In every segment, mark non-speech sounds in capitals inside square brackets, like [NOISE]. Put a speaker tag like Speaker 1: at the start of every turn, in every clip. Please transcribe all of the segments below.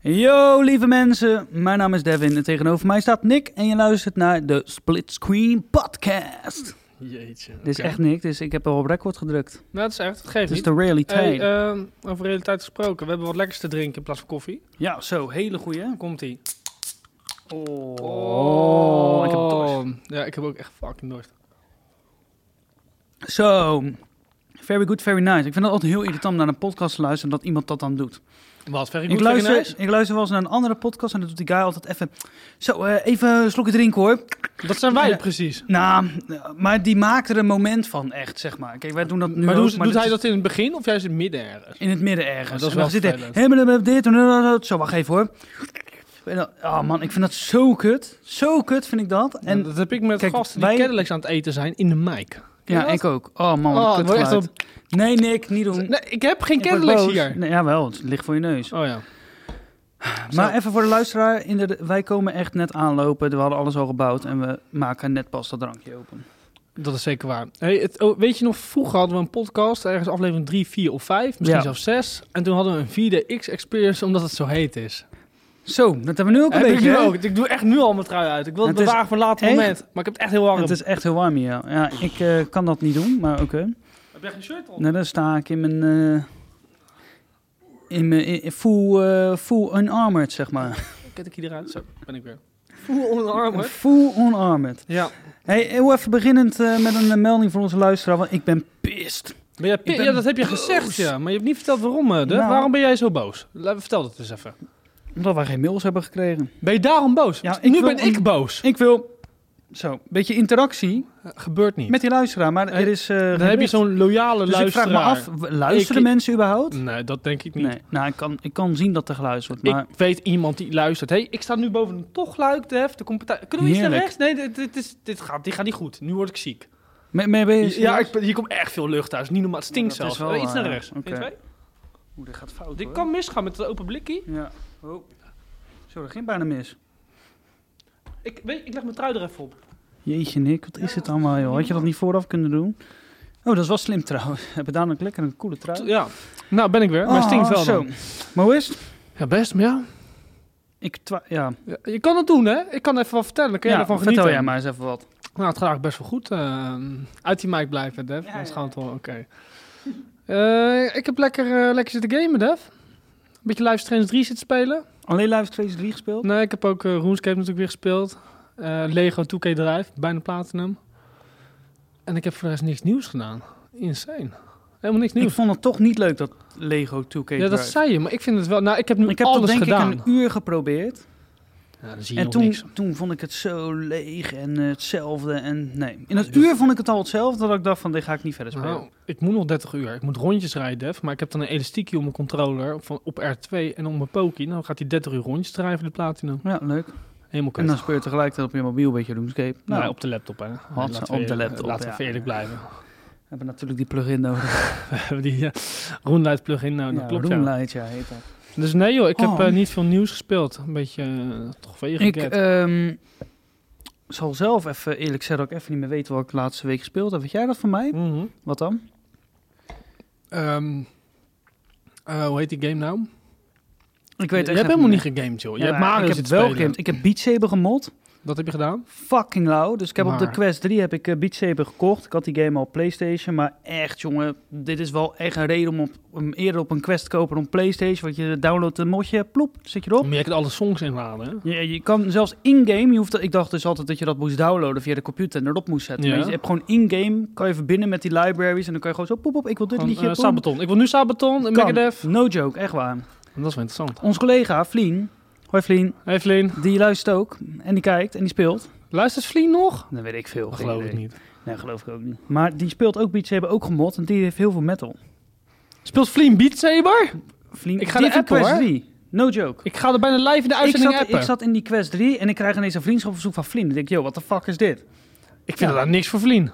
Speaker 1: Yo, lieve mensen. Mijn naam is Devin en tegenover mij staat Nick. En je luistert naar de Split Screen Podcast.
Speaker 2: Jeetje.
Speaker 1: Dit is
Speaker 2: oké.
Speaker 1: echt niks, dus ik heb al op record gedrukt.
Speaker 2: Nou, dat is echt. Het geeft
Speaker 1: Het is
Speaker 2: niet.
Speaker 1: de realiteit.
Speaker 2: Hey, ehm, over realiteit gesproken. We hebben wat lekkers te drinken in plaats van koffie.
Speaker 1: ja, zo. Hele goeie, hè?
Speaker 2: Komt-ie.
Speaker 1: Oh,
Speaker 2: Oh, ik
Speaker 1: ik heb het
Speaker 2: heb
Speaker 1: dorst.
Speaker 2: Ja, ik heb ook echt fucking dorst.
Speaker 1: Zo. very good, very nice. Ik vind het altijd heel irritant om naar een podcast te luisteren dat iemand dat dan doet.
Speaker 2: Wat? Very
Speaker 1: Ik
Speaker 2: good, very
Speaker 1: luister,
Speaker 2: nice?
Speaker 1: ik luister wel eens naar een andere podcast en dan doet die guy altijd even... Zo, eh, even een slokje drinken hoor.
Speaker 2: Dat zijn wij
Speaker 1: Ja.
Speaker 2: precies.
Speaker 1: Nou, maar die maakt er een moment van echt, zeg maar. Kijk, wij doen dat nu
Speaker 2: maar
Speaker 1: ook,
Speaker 2: doet, doet
Speaker 1: dit
Speaker 2: hij
Speaker 1: is
Speaker 2: dat in het begin of juist in het midden ergens?
Speaker 1: in het midden ergens.
Speaker 2: Maar dat
Speaker 1: En
Speaker 2: is
Speaker 1: dan
Speaker 2: wel
Speaker 1: zit hij,
Speaker 2: vervelend.
Speaker 1: "Hey, blablabla, dit en dat, dat." Zo, wacht even hoor. En dan- Oh man, ik vind dat zo kut. Zo kut vind ik dat. En
Speaker 2: En dat heb ik met
Speaker 1: kijk,
Speaker 2: gasten die
Speaker 1: wij-
Speaker 2: Cadillacs aan het eten zijn in de mic.
Speaker 1: Ja, ik ook. Oh man,
Speaker 2: Oh,
Speaker 1: wat
Speaker 2: het
Speaker 1: een
Speaker 2: wordt echt
Speaker 1: kutgeluid. Nee, Nick, niet doen.
Speaker 2: Nee, ik heb geen
Speaker 1: Ik word
Speaker 2: Cadillacs
Speaker 1: boos.
Speaker 2: hier.
Speaker 1: Nee, jawel, het ligt voor je neus.
Speaker 2: Oh ja.
Speaker 1: maar even voor de luisteraar, inderdaad, wij komen echt net aanlopen. We hadden alles al gebouwd en we maken net pas dat drankje open.
Speaker 2: Dat is zeker waar. Hey, het, oh, weet je nog, vroeger hadden we een podcast, ergens aflevering 3, 4 of 5, misschien
Speaker 1: Ja.
Speaker 2: zelfs 6. En toen hadden we een vierde X-Experience, omdat het zo heet is.
Speaker 1: Zo, dat hebben we nu ook een
Speaker 2: Heb ik
Speaker 1: beetje.
Speaker 2: nu
Speaker 1: hè?
Speaker 2: ook. Ik doe echt nu al mijn trui uit. Ik wil het
Speaker 1: Het is
Speaker 2: bewaren voor een later
Speaker 1: echt-
Speaker 2: moment. Maar ik heb het echt heel warm.
Speaker 1: Het is echt heel warm hier. Ja, ik eh, kan dat niet doen, maar oké.
Speaker 2: Heb jij geen shirt op?
Speaker 1: Nou, dan sta ik in mijn... eh, in mijn in- in full, eh, full unarmored, zeg maar.
Speaker 2: Ket ik hier eruit? Zo, ben ik weer. Voel onder de armen.
Speaker 1: [LAUGHS] Full unarmored.
Speaker 2: Ja.
Speaker 1: Hey, heel even beginnend eh, met een eh, melding voor onze luisteraar, want ik ben pissed.
Speaker 2: Ben jij pi-
Speaker 1: Ik ben
Speaker 2: ja, dat heb je
Speaker 1: boos.
Speaker 2: gezegd, ja. Maar je hebt niet verteld waarom, eh, Duf.
Speaker 1: Nou.
Speaker 2: Waarom ben jij zo boos? La- Vertel dat eens even.
Speaker 1: Omdat wij geen mails hebben gekregen.
Speaker 2: Ben je daarom boos?
Speaker 1: Ja, ik
Speaker 2: nu
Speaker 1: wil
Speaker 2: ben
Speaker 1: een-
Speaker 2: ik boos.
Speaker 1: Ik wil... Zo, een beetje interactie
Speaker 2: Gebeurt niet.
Speaker 1: met die luisteraar, maar
Speaker 2: Hey,
Speaker 1: er is... eh,
Speaker 2: Dan
Speaker 1: geen
Speaker 2: heb je
Speaker 1: bericht.
Speaker 2: zo'n loyale
Speaker 1: Dus ik
Speaker 2: luisteraar.
Speaker 1: vraag me af, w- luisteren
Speaker 2: Ik-
Speaker 1: mensen überhaupt?
Speaker 2: Nee, dat denk ik niet.
Speaker 1: Nee, nou, ik kan, ik kan zien dat er geluisterd wordt, maar...
Speaker 2: Ik weet iemand die luistert. hey, ik sta nu boven een tochluik, Def. De competi- Kunnen we iets naar
Speaker 1: Heerlijk.
Speaker 2: rechts? Nee, dit, dit, is, dit, gaat, dit gaat niet goed. Nu word ik ziek.
Speaker 1: Mee, mee ben je
Speaker 2: Ja,
Speaker 1: serieus?
Speaker 2: ik, hier komt echt veel lucht uit. Is Niet normaal. Het stinkt
Speaker 1: Ja, dat is
Speaker 2: zelfs.
Speaker 1: wel,
Speaker 2: Eh, iets naar
Speaker 1: eh,
Speaker 2: rechts. Eén,
Speaker 1: oké.
Speaker 2: twee.
Speaker 1: Oeh, dit gaat fout,
Speaker 2: Dit
Speaker 1: hoor.
Speaker 2: kan misgaan met het open blikkie.
Speaker 1: Ja. Oh. Zo, dat ging bijna mis.
Speaker 2: Ik, weet, ik leg mijn trui er even op.
Speaker 1: Jeetje, Nick, wat is het allemaal, joh? Had je dat niet vooraf kunnen doen? Oh, dat is wel slim trouwens. [LAUGHS] Hebben dadelijk lekker een coole trui. Oh,
Speaker 2: Ja. Nou, ben ik weer. Maar het stinkt wel
Speaker 1: zo.
Speaker 2: dan.
Speaker 1: Maar hoe is het?
Speaker 2: Ja, best. Maar ja.
Speaker 1: Ik twa- ja.
Speaker 2: Ja, Je kan het doen, hè? Ik kan even wat vertellen. Dan kun je
Speaker 1: ja,
Speaker 2: ervan genieten.
Speaker 1: vertel jij maar eens even wat.
Speaker 2: Nou, het gaat eigenlijk best wel goed. ehm, uit die mic blijven, Dev.
Speaker 1: Ja,
Speaker 2: Anders
Speaker 1: ja,
Speaker 2: gaan we het wel- oké. [LAUGHS] Eh, ik heb lekker, eh, lekker zitten gamen, Dev. Een beetje Live Strange 3 zitten spelen.
Speaker 1: Alleen Live 2 3 gespeeld?
Speaker 2: Nee, ik heb ook eh, RuneScape natuurlijk weer gespeeld. Eh, Lego 2K Drive, bijna Platinum. En ik heb voor de rest niks nieuws gedaan. Insane. Helemaal niks
Speaker 1: ik
Speaker 2: nieuws.
Speaker 1: vond het toch niet leuk, dat Lego 2K
Speaker 2: ja, dat
Speaker 1: Drive.
Speaker 2: zei je, maar ik vind het wel... Nou, ik heb nu
Speaker 1: Ik heb
Speaker 2: alles
Speaker 1: dat denk
Speaker 2: gedaan.
Speaker 1: ik een uur geprobeerd.
Speaker 2: Ja, dan zie je
Speaker 1: En
Speaker 2: nog
Speaker 1: toen,
Speaker 2: niks.
Speaker 1: toen vond ik het zo leeg en eh, hetzelfde. En nee, in
Speaker 2: dus-
Speaker 1: dat uur vond ik het al hetzelfde dat ik dacht van, dit ga ik niet verder spelen.
Speaker 2: Nou, ik moet nog 30 uur. Ik moet rondjes rijden, Def. Maar ik heb dan een elastiekje om mijn controller van, op R2 en om mijn Poki. Nou gaat hij 30 uur rondjes draaien voor de Platinum.
Speaker 1: Ja, leuk.
Speaker 2: Helemaal
Speaker 1: En
Speaker 2: kut.
Speaker 1: dan speel je tegelijkertijd op je mobiel een beetje RuneScape. Nou,
Speaker 2: nou, op de laptop, hè.
Speaker 1: Wat,
Speaker 2: Laten
Speaker 1: op
Speaker 2: we-
Speaker 1: de laptop,
Speaker 2: Laten we
Speaker 1: ja.
Speaker 2: even eerlijk blijven. [LAUGHS]
Speaker 1: we hebben natuurlijk die plugin nodig.
Speaker 2: We hebben die uh, Roenlight plugin nou, dat
Speaker 1: ja,
Speaker 2: klopt, ja.
Speaker 1: Roomlight, ja, heet dat.
Speaker 2: Dus nee joh, ik heb
Speaker 1: Oh.
Speaker 2: eh, niet veel nieuws gespeeld. Een beetje eh, toch weer
Speaker 1: Ik
Speaker 2: geget.
Speaker 1: ehm, zal zelf even eerlijk zeggen dat ik even niet meer weet wat ik de laatste week gespeeld heb. Weet jij dat van mij?
Speaker 2: Mhm.
Speaker 1: Wat dan?
Speaker 2: Ehm, eh, hoe heet die game nou?
Speaker 1: Ik
Speaker 2: Je
Speaker 1: weet
Speaker 2: hebt helemaal niet gegamed joh. Je hebt Mario
Speaker 1: Ik heb
Speaker 2: zitten
Speaker 1: wel
Speaker 2: spelen.
Speaker 1: gegamed. Ik heb Beat Saber gemod.
Speaker 2: Dat heb je gedaan?
Speaker 1: Fucking lauw. Dus ik heb op de
Speaker 2: Maar-
Speaker 1: Quest 3 heb ik eh, Beat Saber gekocht. Ik had die game al op Playstation. Maar echt jongen, dit is wel echt een reden om op, om eerder op een Quest te kopen dan op Playstation. Want je downloadt een modje, ploep, zit je erop.
Speaker 2: Maar je kunt alle songs inladen hè?
Speaker 1: Ja, je kan zelfs in-game, je hoeft dat- ik dacht dus altijd dat je dat moest downloaden via de computer en erop moest zetten.
Speaker 2: Ja.
Speaker 1: Maar je hebt gewoon in-game, kan je verbinden met die libraries en dan kan je gewoon zo poep op, ik wil dit
Speaker 2: Gewoon,
Speaker 1: liedje.
Speaker 2: eh,
Speaker 1: boem.
Speaker 2: Sabaton. Ik wil nu Sabaton
Speaker 1: Kan.
Speaker 2: en Megadeth.
Speaker 1: No joke, echt waar.
Speaker 2: Dat is wel interessant.
Speaker 1: Ons collega Vlien, hoi Vlien,
Speaker 2: Hey Vleen,
Speaker 1: die luistert ook en die kijkt en die speelt.
Speaker 2: luistert Vleen nog?
Speaker 1: Dan weet ik veel.
Speaker 2: Dat
Speaker 1: geen
Speaker 2: geloof
Speaker 1: idee.
Speaker 2: ik niet.
Speaker 1: Nee, geloof ik ook niet. Maar die speelt ook Beat Saber, ook gemot en die heeft heel veel metal.
Speaker 2: Speelt Vleen Beat Saber?
Speaker 1: Vlien,
Speaker 2: Ik ga
Speaker 1: die
Speaker 2: de
Speaker 1: heeft
Speaker 2: appen,
Speaker 1: een Quest
Speaker 2: hoor.
Speaker 1: 3. No joke.
Speaker 2: Ik ga er bijna live in de
Speaker 1: Ik
Speaker 2: uitzending
Speaker 1: zat,
Speaker 2: appen.
Speaker 1: ik zat in die Quest 3 en ik krijg ineens een vriendschapverzoek van Vlien. Dan denk ik, yo, what the fuck is dit?
Speaker 2: Ik vind daar niks voor Vleen.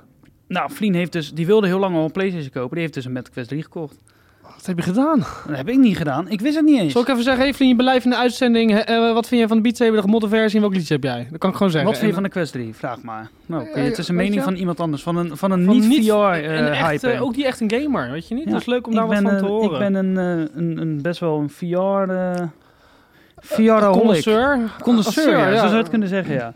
Speaker 1: Nou, Vlien heeft dus, die wilde heel lang al een PlayStation kopen. Die heeft dus een Meta Quest 3 gekocht.
Speaker 2: Wat heb je gedaan?
Speaker 1: Dat heb ik niet gedaan. Ik wist het niet eens.
Speaker 2: Zal ik even zeggen, hey Vleen, je bent live in de uitzending. Eh, eh, wat vind jij van de Beat Saber, de gemodde versie en welk liedje heb jij? Dat kan ik gewoon zeggen.
Speaker 1: Wat vind je van
Speaker 2: En-
Speaker 1: de Quest 3? Vraag maar. Nou,
Speaker 2: Eh,
Speaker 1: oké, het is een
Speaker 2: weet
Speaker 1: mening
Speaker 2: je?
Speaker 1: van iemand anders. Van een, van een
Speaker 2: van niet- en echt,
Speaker 1: niet-VR-hype.
Speaker 2: eh, ook die echt een gamer, weet je niet?
Speaker 1: Ja,
Speaker 2: Dat is leuk om daar wat van te horen.
Speaker 1: Ik ben een, eh, een, een best wel een VR... eh, Viaraholic.
Speaker 2: Eh, Connoisseur.
Speaker 1: Connoisseur,
Speaker 2: Connoisseur,
Speaker 1: ja,
Speaker 2: ja.
Speaker 1: zo zou je het kunnen zeggen, ja.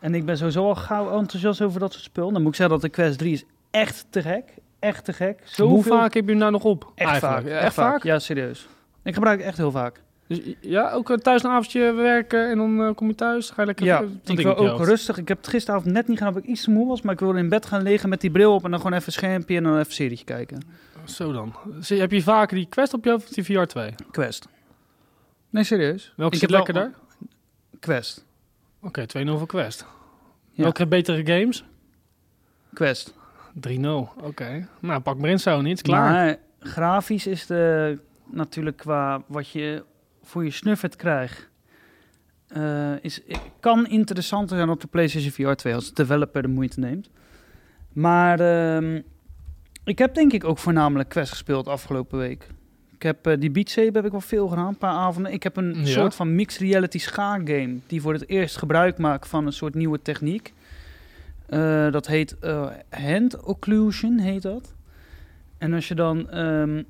Speaker 1: En ik ben sowieso al gauw enthousiast over dat soort spul. Dan moet ik zeggen dat de Quest 3 is echt te gek. Echt te gek. Zo
Speaker 2: Hoe vaak heb je hem nou nog op?
Speaker 1: Echt
Speaker 2: eigenlijk?
Speaker 1: vaak.
Speaker 2: Ja, Echt vaak?
Speaker 1: Ja, serieus. Ik gebruik het echt heel vaak.
Speaker 2: Dus, ja, ook eh, thuis een avondje werken en dan eh, kom je thuis. Ga je lekker
Speaker 1: Ja,
Speaker 2: eh, dat
Speaker 1: ik
Speaker 2: ding
Speaker 1: wil
Speaker 2: op je
Speaker 1: ook
Speaker 2: hoofd.
Speaker 1: rustig. Ik heb het gisteravond net niet gedaan omdat ik iets te moe was. Maar ik wilde in bed gaan liggen met die bril op en dan gewoon even schermpje en dan even een serietje kijken.
Speaker 2: Zo dan. Zie- heb je vaker die Quest op je hoofd of die VR 2?
Speaker 1: Quest. Nee, serieus.
Speaker 2: Welke
Speaker 1: Ik
Speaker 2: zit
Speaker 1: heb wel-
Speaker 2: lekkerder?
Speaker 1: Quest.
Speaker 2: Oké, 2-0 voor Quest.
Speaker 1: Ja.
Speaker 2: Welke heeft betere games? 3-0.
Speaker 1: Quest.
Speaker 2: Oké. Nou, pak maar in Sony. Het is klaar.
Speaker 1: Maar grafisch is de natuurlijk qua wat je voor je snuffet krijgt. eh, is, kan interessanter zijn op de PlayStation VR 2 als de developer de moeite neemt. Maar ehm, ik heb denk ik ook voornamelijk Quest gespeeld afgelopen week. Ik heb eh, die Beat Saber heb ik wel veel gedaan, een paar avonden. Ik heb een
Speaker 2: Ja.
Speaker 1: soort van mixed reality schaakgame die voor het eerst gebruik maakt van een soort nieuwe techniek. Eh, dat heet eh, hand occlusion, heet dat. En als je dan ehm,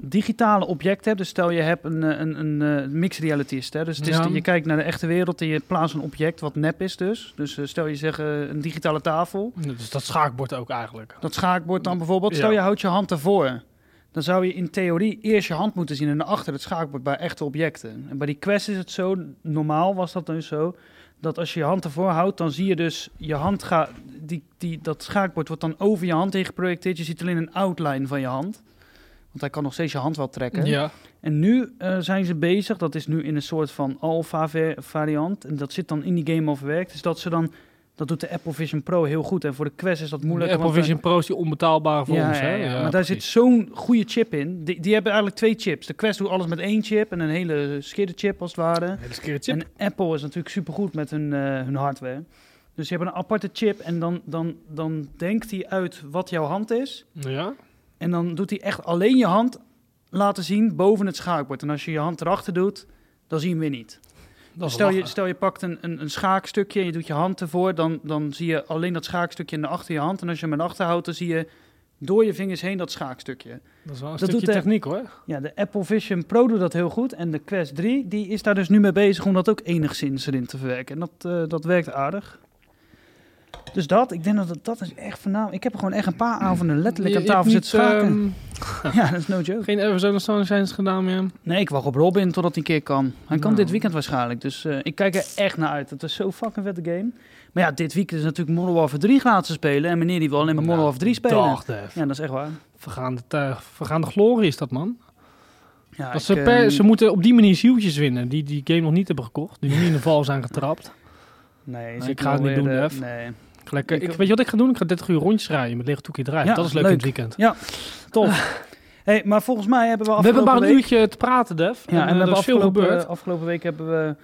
Speaker 1: digitale objecten hebt, dus stel je hebt een, eh, een, een eh, mixed reality is het, hè? Dus het is
Speaker 2: Ja.
Speaker 1: de- je kijkt naar de echte wereld en je plaatst een object wat nep is dus. Dus eh, stel je zegt eh, een digitale tafel,
Speaker 2: Dus dat schaakbord ook eigenlijk.
Speaker 1: dat schaakbord dan bijvoorbeeld. Stel
Speaker 2: Ja.
Speaker 1: je houdt je hand ervoor. Dan zou je in theorie eerst je hand moeten zien en naar achter het schaakbord bij echte objecten. En bij die quest is het zo, normaal was dat dus zo, dat als je je hand ervoor houdt, dan zie je dus je hand gaat, die, die, dat schaakbord wordt dan over je hand heen geprojecteerd. Je ziet alleen een outline van je hand. Want hij kan nog steeds je hand wel trekken.
Speaker 2: Ja.
Speaker 1: En nu eh, zijn ze bezig, dat is nu in een soort van alpha va- variant. En dat zit dan in die game al verwerkt. Dus dat ze dan, dat doet de Apple Vision Pro heel goed. En voor de Quest is dat moeilijk.
Speaker 2: De Apple
Speaker 1: want dan-
Speaker 2: Vision Pro is die onbetaalbare voor
Speaker 1: ja,
Speaker 2: ons. Hè?
Speaker 1: ja, ja,
Speaker 2: Ja,
Speaker 1: maar daar
Speaker 2: precies.
Speaker 1: zit zo'n goede chip in. Die, die hebben eigenlijk twee chips. De Quest doet alles met één chip en een hele schidderchip als het ware.
Speaker 2: Een hele skere chip.
Speaker 1: En Apple is natuurlijk supergoed met hun, eh, hun hardware. Dus je hebt een aparte chip en dan, dan, dan denkt hij uit wat jouw hand is.
Speaker 2: Ja.
Speaker 1: En dan doet hij echt alleen je hand laten zien boven het schaakbord. En als je je hand erachter doet, dan zien we niet.
Speaker 2: Dat is
Speaker 1: Stel je,
Speaker 2: lachen.
Speaker 1: stel je pakt een, een, een schaakstukje en je doet je hand ervoor, dan, dan zie je alleen dat schaakstukje in de achter je hand. En als je hem in achter houdt, dan zie je door je vingers heen dat schaakstukje.
Speaker 2: Dat is wel
Speaker 1: dat
Speaker 2: een stukje
Speaker 1: doet de-
Speaker 2: techniek hoor.
Speaker 1: Ja, de Apple Vision Pro doet dat heel goed. En de Quest 3 die is daar dus nu mee bezig om dat ook enigszins erin te verwerken. En dat, eh, dat werkt aardig. Dus dat, ik denk dat het- dat is echt voornamelijk. Ik heb er gewoon echt een paar avonden letterlijk
Speaker 2: Je-
Speaker 1: aan
Speaker 2: je hebt
Speaker 1: tafel zitten
Speaker 2: niet,
Speaker 1: schaken.
Speaker 2: ehm,
Speaker 1: [LAUGHS] ja, dat is no joke.
Speaker 2: geen Arizona Sunshines gedaan meer.
Speaker 1: Nee, ik wacht op Robin totdat hij een keer kan. Hij kan
Speaker 2: Nou.
Speaker 1: dit weekend waarschijnlijk. Dus eh, ik kijk er echt naar uit. Het is zo fucking vette game. Maar ja, dit weekend is natuurlijk Modern Warfare 3 gratis te spelen. En meneer die wil alleen maar Modern
Speaker 2: Nou,
Speaker 1: Warfare 3 spelen.
Speaker 2: Dag, Def.
Speaker 1: Ja, dat is echt waar.
Speaker 2: Vergaande, tuig, vergaande glorie is dat man.
Speaker 1: Ja,
Speaker 2: Dat
Speaker 1: ik,
Speaker 2: ze, per-
Speaker 1: ehm,
Speaker 2: ze moeten op die manier zieltjes winnen die die game nog niet hebben gekocht. Die nog niet in de val zijn getrapt.
Speaker 1: Nee,
Speaker 2: ik
Speaker 1: zit
Speaker 2: ga het niet
Speaker 1: alweer,
Speaker 2: doen,
Speaker 1: eh,
Speaker 2: Def.
Speaker 1: Nee.
Speaker 2: Ik Lekker,
Speaker 1: Ik-
Speaker 2: eh, ik, weet je wat ik ga doen? Ik ga 30 uur rondjes rijden met lege toekie rijden.
Speaker 1: Ja,
Speaker 2: dat is leuk, in
Speaker 1: leuk.
Speaker 2: het weekend.
Speaker 1: Tof.
Speaker 2: [LAUGHS]
Speaker 1: hey, maar volgens mij hebben we
Speaker 2: We hebben
Speaker 1: afgelopen
Speaker 2: maar een
Speaker 1: week...
Speaker 2: uurtje te praten, Def.
Speaker 1: Ja, en we
Speaker 2: eh,
Speaker 1: hebben
Speaker 2: er is veel
Speaker 1: afgelopen,
Speaker 2: gebeurd.
Speaker 1: afgelopen week hebben we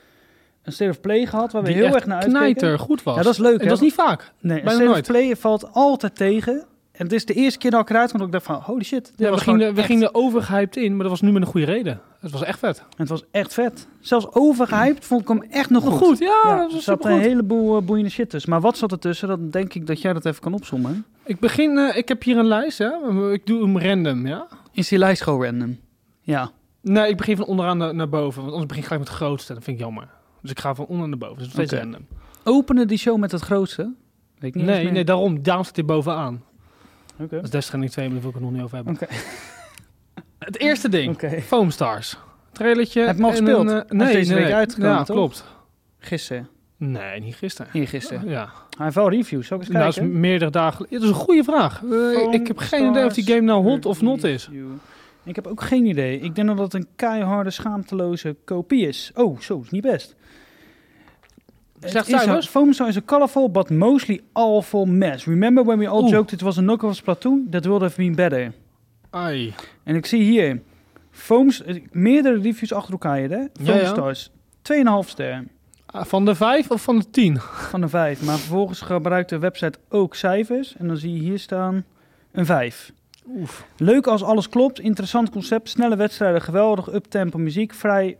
Speaker 1: een State of Play gehad waar we
Speaker 2: Die
Speaker 1: heel
Speaker 2: echt
Speaker 1: erg naar uitkeken.
Speaker 2: Knijter, goed was.
Speaker 1: Ja, dat is leuk,
Speaker 2: En
Speaker 1: hè?
Speaker 2: dat is niet vaak.
Speaker 1: Nee, een
Speaker 2: Bijna
Speaker 1: State of
Speaker 2: nooit.
Speaker 1: Play valt altijd tegen. En het is de eerste keer dat ik eruit kwam dat ik dacht van, holy shit. dit
Speaker 2: Ja, we
Speaker 1: was gewoon
Speaker 2: gingen, we
Speaker 1: echt-
Speaker 2: gingen overgehyped in, maar dat was nu met een goede reden. Het was echt vet.
Speaker 1: En het was echt vet. Zelfs overgehyped vond ik hem echt nog goed.
Speaker 2: Oh, ja,
Speaker 1: Ja,
Speaker 2: dat
Speaker 1: er
Speaker 2: was
Speaker 1: zat een
Speaker 2: supergoed.
Speaker 1: heleboel eh, boeiende shit tussen. Maar wat zat er tussen? Dan denk ik dat jij dat even kan opzommen. hè?
Speaker 2: Ik begin, eh, ik heb hier een lijst, hè. Ik doe hem random, ja.
Speaker 1: Is die lijst gewoon random? Ja.
Speaker 2: Nee, ik begin van onderaan naar, naar boven, want anders begin ik gelijk met het grootste. Dat vind ik jammer. Dus ik ga van onder naar boven, dus het is nog steeds
Speaker 1: Oké.
Speaker 2: random.
Speaker 1: Openen die show met het grootste? Weet ik niet eens
Speaker 2: Nee,
Speaker 1: meer.
Speaker 2: nee, daarom, daarom staat hij bovenaan.
Speaker 1: Oké.
Speaker 2: Dat is Death Stranding 2, maar daar wil ik het nog niet over hebben.
Speaker 1: Oké.
Speaker 2: [LAUGHS] Het eerste ding,
Speaker 1: Oké.
Speaker 2: Foam Stars. Trailertje.
Speaker 1: Heb je hem al
Speaker 2: en
Speaker 1: gespeeld?
Speaker 2: een, eh,
Speaker 1: Hij is
Speaker 2: nee,
Speaker 1: deze
Speaker 2: nee,
Speaker 1: week
Speaker 2: nee.
Speaker 1: uitgekomen,
Speaker 2: Ja,
Speaker 1: toch?
Speaker 2: klopt.
Speaker 1: Gisteren.
Speaker 2: Nee, niet gisteren.
Speaker 1: Hier gisteren.
Speaker 2: Ja,
Speaker 1: Hij heeft wel reviews. Zal ik eens
Speaker 2: nou, dat
Speaker 1: kijken?
Speaker 2: is meerdere dagen. Ja, dat is een goede vraag. Eh, ik heb geen idee of die game nou hot of not is.
Speaker 1: Review. Ik heb ook geen idee. Ik denk dat het een keiharde, schaamteloze kopie is. Oh, zo, is niet best.
Speaker 2: Slecht
Speaker 1: Het is
Speaker 2: cijfers?
Speaker 1: a- Foam Star is a colorful but mostly awful mess. Remember when we all
Speaker 2: Oeh.
Speaker 1: joked it was a knockoff of Splatoon? That would have been better.
Speaker 2: Ai.
Speaker 1: En ik zie hier Foams, eh, meerdere reviews achter elkaar hier, hè?
Speaker 2: Ja, ja.
Speaker 1: Foamstars. 2,5 ster
Speaker 2: Ah, Van de vijf of van de tien?
Speaker 1: van de 5. Maar vervolgens gebruikt de website ook cijfers. En dan zie je hier staan een 5.
Speaker 2: Oef.
Speaker 1: Leuk als alles klopt, interessant concept, snelle wedstrijden, geweldig uptempo muziek, vrij,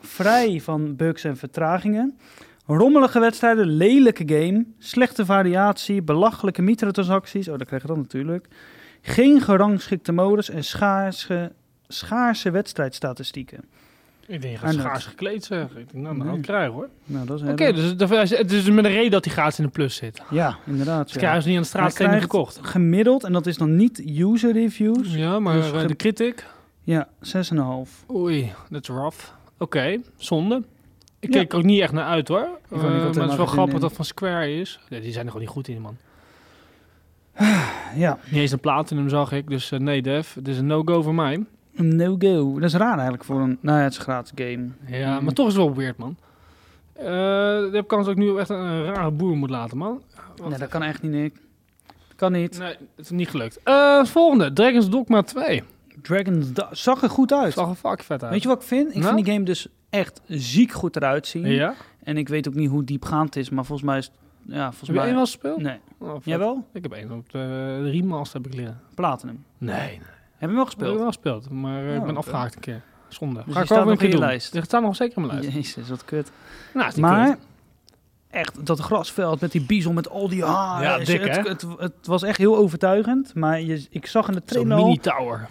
Speaker 1: vrij van bugs en vertragingen. Rommelige wedstrijden, lelijke game, slechte variatie, belachelijke microtransacties, oh dat krijg je dan natuurlijk. Geen gerangschikte modus en schaarse, schaarse wedstrijdstatistieken.
Speaker 2: Ik denk, je gaat
Speaker 1: Arnold.
Speaker 2: schaars gekleed zeggen. Ik denk, nou, nou,
Speaker 1: Nee.
Speaker 2: krijg hoor.
Speaker 1: Nou, dat is
Speaker 2: Oké,
Speaker 1: heel-
Speaker 2: dus dat- het is met een reden dat die gaten in de plus zit.
Speaker 1: Ja, inderdaad.
Speaker 2: Het
Speaker 1: ja.
Speaker 2: krijgen ze niet aan de straatstenen
Speaker 1: Hij krijgt
Speaker 2: gekocht.
Speaker 1: Gemiddeld, en dat is dan niet user reviews.
Speaker 2: Ja, maar
Speaker 1: Dus
Speaker 2: eh,
Speaker 1: ge-
Speaker 2: de critic.
Speaker 1: Ja, 6,5.
Speaker 2: Oei, dat is rough. Oké, zonde. Ik
Speaker 1: Ja.
Speaker 2: keek er ook niet echt naar uit hoor.
Speaker 1: ook
Speaker 2: Eh,
Speaker 1: niet, want
Speaker 2: maar het is wel
Speaker 1: helemaal
Speaker 2: grappig
Speaker 1: geen-
Speaker 2: dat van Square is. Nee, die zijn er gewoon niet goed in, man.
Speaker 1: Ja,
Speaker 2: Niet eens een platinum zag ik, dus eh, nee, Def. Het is een no-go voor mij.
Speaker 1: een no-go. Dat is raar eigenlijk voor een... Nou ja, het is een gratis game.
Speaker 2: Ja,
Speaker 1: Mm.
Speaker 2: Eh, maar toch is het wel weird, man. Eh de heb kans dat ik nu echt een, een rare boer moet laten, man. Wat?
Speaker 1: Nee, dat kan echt niet, Nick. Dat kan niet.
Speaker 2: Nee, het is niet gelukt. Eh, volgende, Dragon's Dogma 2.
Speaker 1: Dragon's Da- zag er goed uit.
Speaker 2: Zag er fuck vet uit.
Speaker 1: Weet je wat ik vind? Ik
Speaker 2: Nou?
Speaker 1: vind die game dus echt ziek goed eruit zien.
Speaker 2: Ja?
Speaker 1: En ik weet ook niet hoe diepgaand het is, maar volgens mij is... het- Ja, volgens
Speaker 2: Heb je
Speaker 1: mij...
Speaker 2: één wel gespeeld?
Speaker 1: Nee.
Speaker 2: Oh, vet.
Speaker 1: Jawel?
Speaker 2: Ik heb één op de, de remaster heb ik leren.
Speaker 1: Platinum.
Speaker 2: Nee,
Speaker 1: Heb je hem wel
Speaker 2: Ik heb
Speaker 1: gespeeld?
Speaker 2: wel gespeeld, maar eh,
Speaker 1: Oh,
Speaker 2: ik ben
Speaker 1: oké.
Speaker 2: afgehaakt een keer. Zonde.
Speaker 1: die
Speaker 2: Ga ik
Speaker 1: staat
Speaker 2: ook
Speaker 1: nog
Speaker 2: een keer
Speaker 1: in je
Speaker 2: doen.
Speaker 1: lijst?
Speaker 2: Die staat nog zeker in mijn lijst.
Speaker 1: Jezus, wat kut.
Speaker 2: Nou, is niet
Speaker 1: Maar
Speaker 2: kut.
Speaker 1: echt dat grasveld met die bison met al die haren.
Speaker 2: Ja, dik,
Speaker 1: het,
Speaker 2: hè?
Speaker 1: het, het was echt heel overtuigend. Maar je, ik zag in de
Speaker 2: Zo'n
Speaker 1: trailer al-
Speaker 2: mini-tower.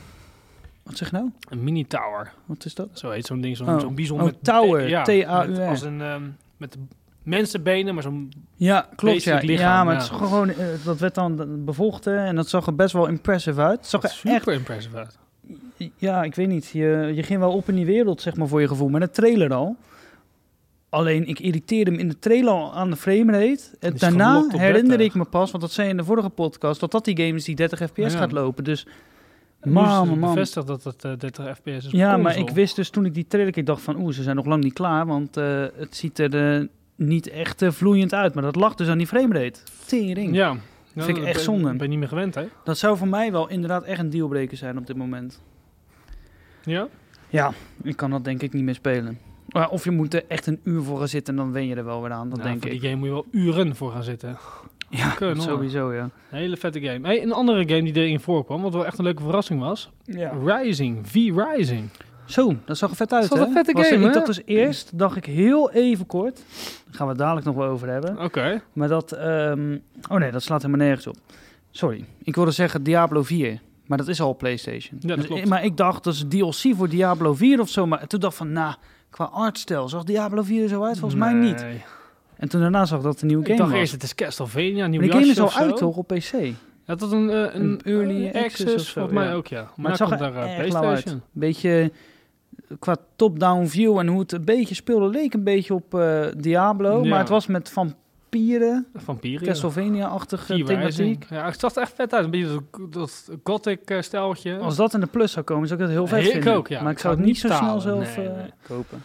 Speaker 1: Wat zeg je nou?
Speaker 2: Een mini-tower.
Speaker 1: Wat is dat?
Speaker 2: Zo heet zo'n ding, zo'n
Speaker 1: Oh.
Speaker 2: zo'n bizon
Speaker 1: Oh,
Speaker 2: met...
Speaker 1: tower.
Speaker 2: Ja,
Speaker 1: T-A-U-R.
Speaker 2: met- als een... ehm, met mensenbenen, maar zo'n...
Speaker 1: Ja, klopt. Ja,
Speaker 2: Basic lichaam,
Speaker 1: ja maar
Speaker 2: ja.
Speaker 1: het is gewoon, eh, dat werd dan bevochten en dat zag er best wel impressive uit. Het zag
Speaker 2: Super
Speaker 1: er echt,
Speaker 2: impressive uit.
Speaker 1: ja, ik weet niet. Je, je ging wel op in die wereld, zeg maar, voor je gevoel. Met de trailer al. Alleen, ik irriteerde me in de trailer al aan de framerate. En
Speaker 2: is
Speaker 1: daarna
Speaker 2: gelokt op
Speaker 1: herinner
Speaker 2: 30.
Speaker 1: ik me pas, want dat zei je in de vorige podcast, dat dat die game is die 30 fps
Speaker 2: Ja.
Speaker 1: gaat lopen. Dus,
Speaker 2: nu is
Speaker 1: man,
Speaker 2: het
Speaker 1: man.
Speaker 2: bevestigd dat het eh, 30 fps is op
Speaker 1: Ja, maar
Speaker 2: console.
Speaker 1: ik wist dus toen ik die trailer keek, dacht van, oeh, ze zijn nog lang niet klaar, want eh, het ziet er eh, niet echt eh, vloeiend uit. Maar dat lag dus aan die framerate. Tering.
Speaker 2: Ja.
Speaker 1: Vind
Speaker 2: Nou,
Speaker 1: ik
Speaker 2: dat
Speaker 1: echt
Speaker 2: ben-
Speaker 1: zonde.
Speaker 2: Ben je niet meer gewend, hè?
Speaker 1: Dat zou voor mij wel inderdaad echt een dealbreaker zijn op dit moment.
Speaker 2: Ja?
Speaker 1: Ja, ik kan dat denk ik niet meer spelen. Maar of je moet er echt een uur voor gaan zitten en dan wen je er wel weer aan, dat
Speaker 2: Nou,
Speaker 1: denk
Speaker 2: voor
Speaker 1: ik.
Speaker 2: die game moet je wel uren voor gaan zitten.
Speaker 1: Ja, [LAUGHS]
Speaker 2: kunnen, hoor.
Speaker 1: sowieso ja.
Speaker 2: Een hele vette game. Hey, een andere game die erin voorkwam, wat wel echt een leuke verrassing was. Rising, V Rising.
Speaker 1: Zo, dat zag er vet uit
Speaker 2: Dat was
Speaker 1: hè?
Speaker 2: een vette
Speaker 1: Was er-
Speaker 2: game,
Speaker 1: ik
Speaker 2: hè?
Speaker 1: dat dus eerst, dacht ik heel even kort, daar gaan we het dadelijk nog wel over hebben.
Speaker 2: Oké.
Speaker 1: Maar dat, ehm, oh nee, dat slaat helemaal nergens op. Sorry, ik wilde zeggen Diablo 4, maar dat is al PlayStation.
Speaker 2: Ja, dat
Speaker 1: Dus-
Speaker 2: klopt.
Speaker 1: maar ik dacht, dat is DLC voor Diablo 4 of zo. Maar toen dacht ik van, nou, qua artstijl zag Diablo 4 er zo uit? Volgens mij niet. En toen daarna zag ik dat het een nieuwe
Speaker 2: ik
Speaker 1: game
Speaker 2: dacht
Speaker 1: was.
Speaker 2: eerst, het is Castlevania, nieuw
Speaker 1: maar die game is
Speaker 2: jasje
Speaker 1: al
Speaker 2: of
Speaker 1: uit
Speaker 2: zo.
Speaker 1: toch op PC?
Speaker 2: Ja, dat een, eh, een,
Speaker 1: Een early
Speaker 2: eh,
Speaker 1: access of zo,
Speaker 2: volgens mij
Speaker 1: ja.
Speaker 2: ook, ja. Maar,
Speaker 1: Maar het
Speaker 2: dan
Speaker 1: zag
Speaker 2: komt
Speaker 1: er
Speaker 2: daar eh,
Speaker 1: echt lauw uit.
Speaker 2: PlayStation.
Speaker 1: Beetje eh, qua top-down view en hoe het een beetje speelde leek een beetje op eh, Diablo.
Speaker 2: Ja.
Speaker 1: Maar het was met vampieren,
Speaker 2: Vampieren.
Speaker 1: Castlevania-achtige
Speaker 2: V Rising.
Speaker 1: thematiek.
Speaker 2: Ja, het zag er echt vet uit. Een beetje dat, dat gothic eh, stijltje.
Speaker 1: Als dat in de plus zou komen, zou ik dat heel vet
Speaker 2: Ik
Speaker 1: vinden.
Speaker 2: ook, ja.
Speaker 1: Maar ik zou het niet zo snel zelf
Speaker 2: Nee,
Speaker 1: eh,
Speaker 2: nee.
Speaker 1: kopen.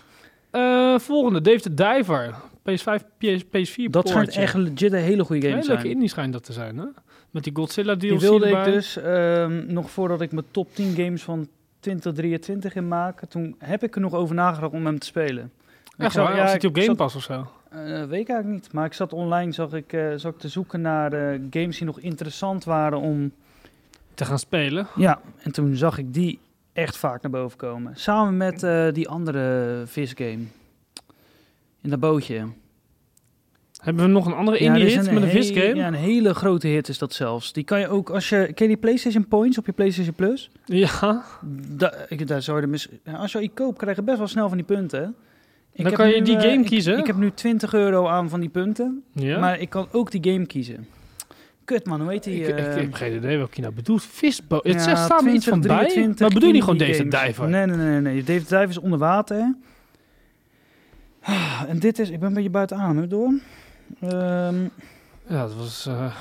Speaker 2: Eh, volgende, Dave the Diver. PS5, PS, PS4
Speaker 1: Dat schijnt
Speaker 2: poortje.
Speaker 1: echt legit een hele goede game
Speaker 2: Hele
Speaker 1: te
Speaker 2: leuke
Speaker 1: zijn.
Speaker 2: indie schijnt dat te zijn, hè? Met die Godzilla DLC
Speaker 1: Die wilde ik
Speaker 2: erbij.
Speaker 1: dus ehm, nog voordat ik mijn top 10 games van 2023 in maak. Toen heb ik er nog over nagedacht om hem te spelen.
Speaker 2: Echt
Speaker 1: zou-
Speaker 2: waar?
Speaker 1: ja,
Speaker 2: zit hij op
Speaker 1: ik zat-
Speaker 2: Game Pass of zo?
Speaker 1: Eh, weet ik eigenlijk niet. Maar ik zat online, zag ik, eh, zat ik te zoeken naar eh, games die nog interessant waren om...
Speaker 2: Te gaan spelen.
Speaker 1: Ja, en toen zag ik die echt vaak naar boven komen. Samen met eh, die andere visgame. In dat bootje.
Speaker 2: Hebben we nog een andere indie
Speaker 1: er is
Speaker 2: hit met een
Speaker 1: he-
Speaker 2: visgame?
Speaker 1: Ja, een hele grote hit is dat zelfs. Die kan je ook als je... Ken je die PlayStation Points op je PlayStation Plus?
Speaker 2: Ja,
Speaker 1: Da- ik, daar zou je er mis- Ja, als je iets koopt, krijg je best wel snel van die punten. Ik
Speaker 2: dan
Speaker 1: heb
Speaker 2: kan je
Speaker 1: nu,
Speaker 2: die
Speaker 1: eh,
Speaker 2: game
Speaker 1: ik-
Speaker 2: kiezen.
Speaker 1: Ik heb nu 20 euro aan van die punten,
Speaker 2: ja?
Speaker 1: maar ik kan ook die game kiezen. Kut man, hoe heet die?
Speaker 2: ik, ik- ik
Speaker 1: eh,
Speaker 2: heb geen idee welke je nou bedoelt. Visboot.
Speaker 1: ja,
Speaker 2: Het zegt samen iets van
Speaker 1: 20,
Speaker 2: bij.
Speaker 1: 23
Speaker 2: Maar bedoel je niet gewoon
Speaker 1: indie
Speaker 2: deze
Speaker 1: games.
Speaker 2: diver?
Speaker 1: Nee, nee, nee. nee. Dave the Diver is onder water. Ah, En dit is... Ik ben een beetje buiten adem, hè, door. Ehm,
Speaker 2: Ja, dat was... eh,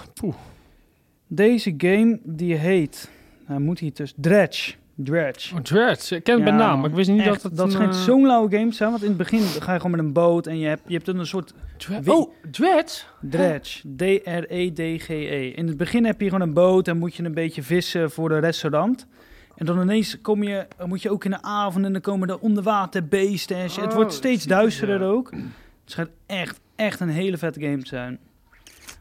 Speaker 1: deze game, die heet... Hij moet hier tussen... Dredge. Dredge.
Speaker 2: oh, Dreads. Ik ken het
Speaker 1: Ja,
Speaker 2: bij naam, maar ik wist niet
Speaker 1: Echt,
Speaker 2: dat het
Speaker 1: dat
Speaker 2: een,
Speaker 1: schijnt
Speaker 2: eh,
Speaker 1: zo'n lauwe game te zijn. Want in het begin ga je gewoon met een boot en je hebt, je hebt dan een soort
Speaker 2: Dra-
Speaker 1: Wie-
Speaker 2: Oh, Dreads?
Speaker 1: dredge. E D-R-E-D-G-E. In het begin heb je gewoon een boot en moet je een beetje vissen voor een restaurant. En dan ineens kom je, dan moet je ook in de avond en dan komen er onderwaterbeesten. En shit. het
Speaker 2: Oh,
Speaker 1: wordt steeds
Speaker 2: precies,
Speaker 1: duisterder
Speaker 2: ja.
Speaker 1: ook. Het schijnt echt, echt een hele vette game te zijn.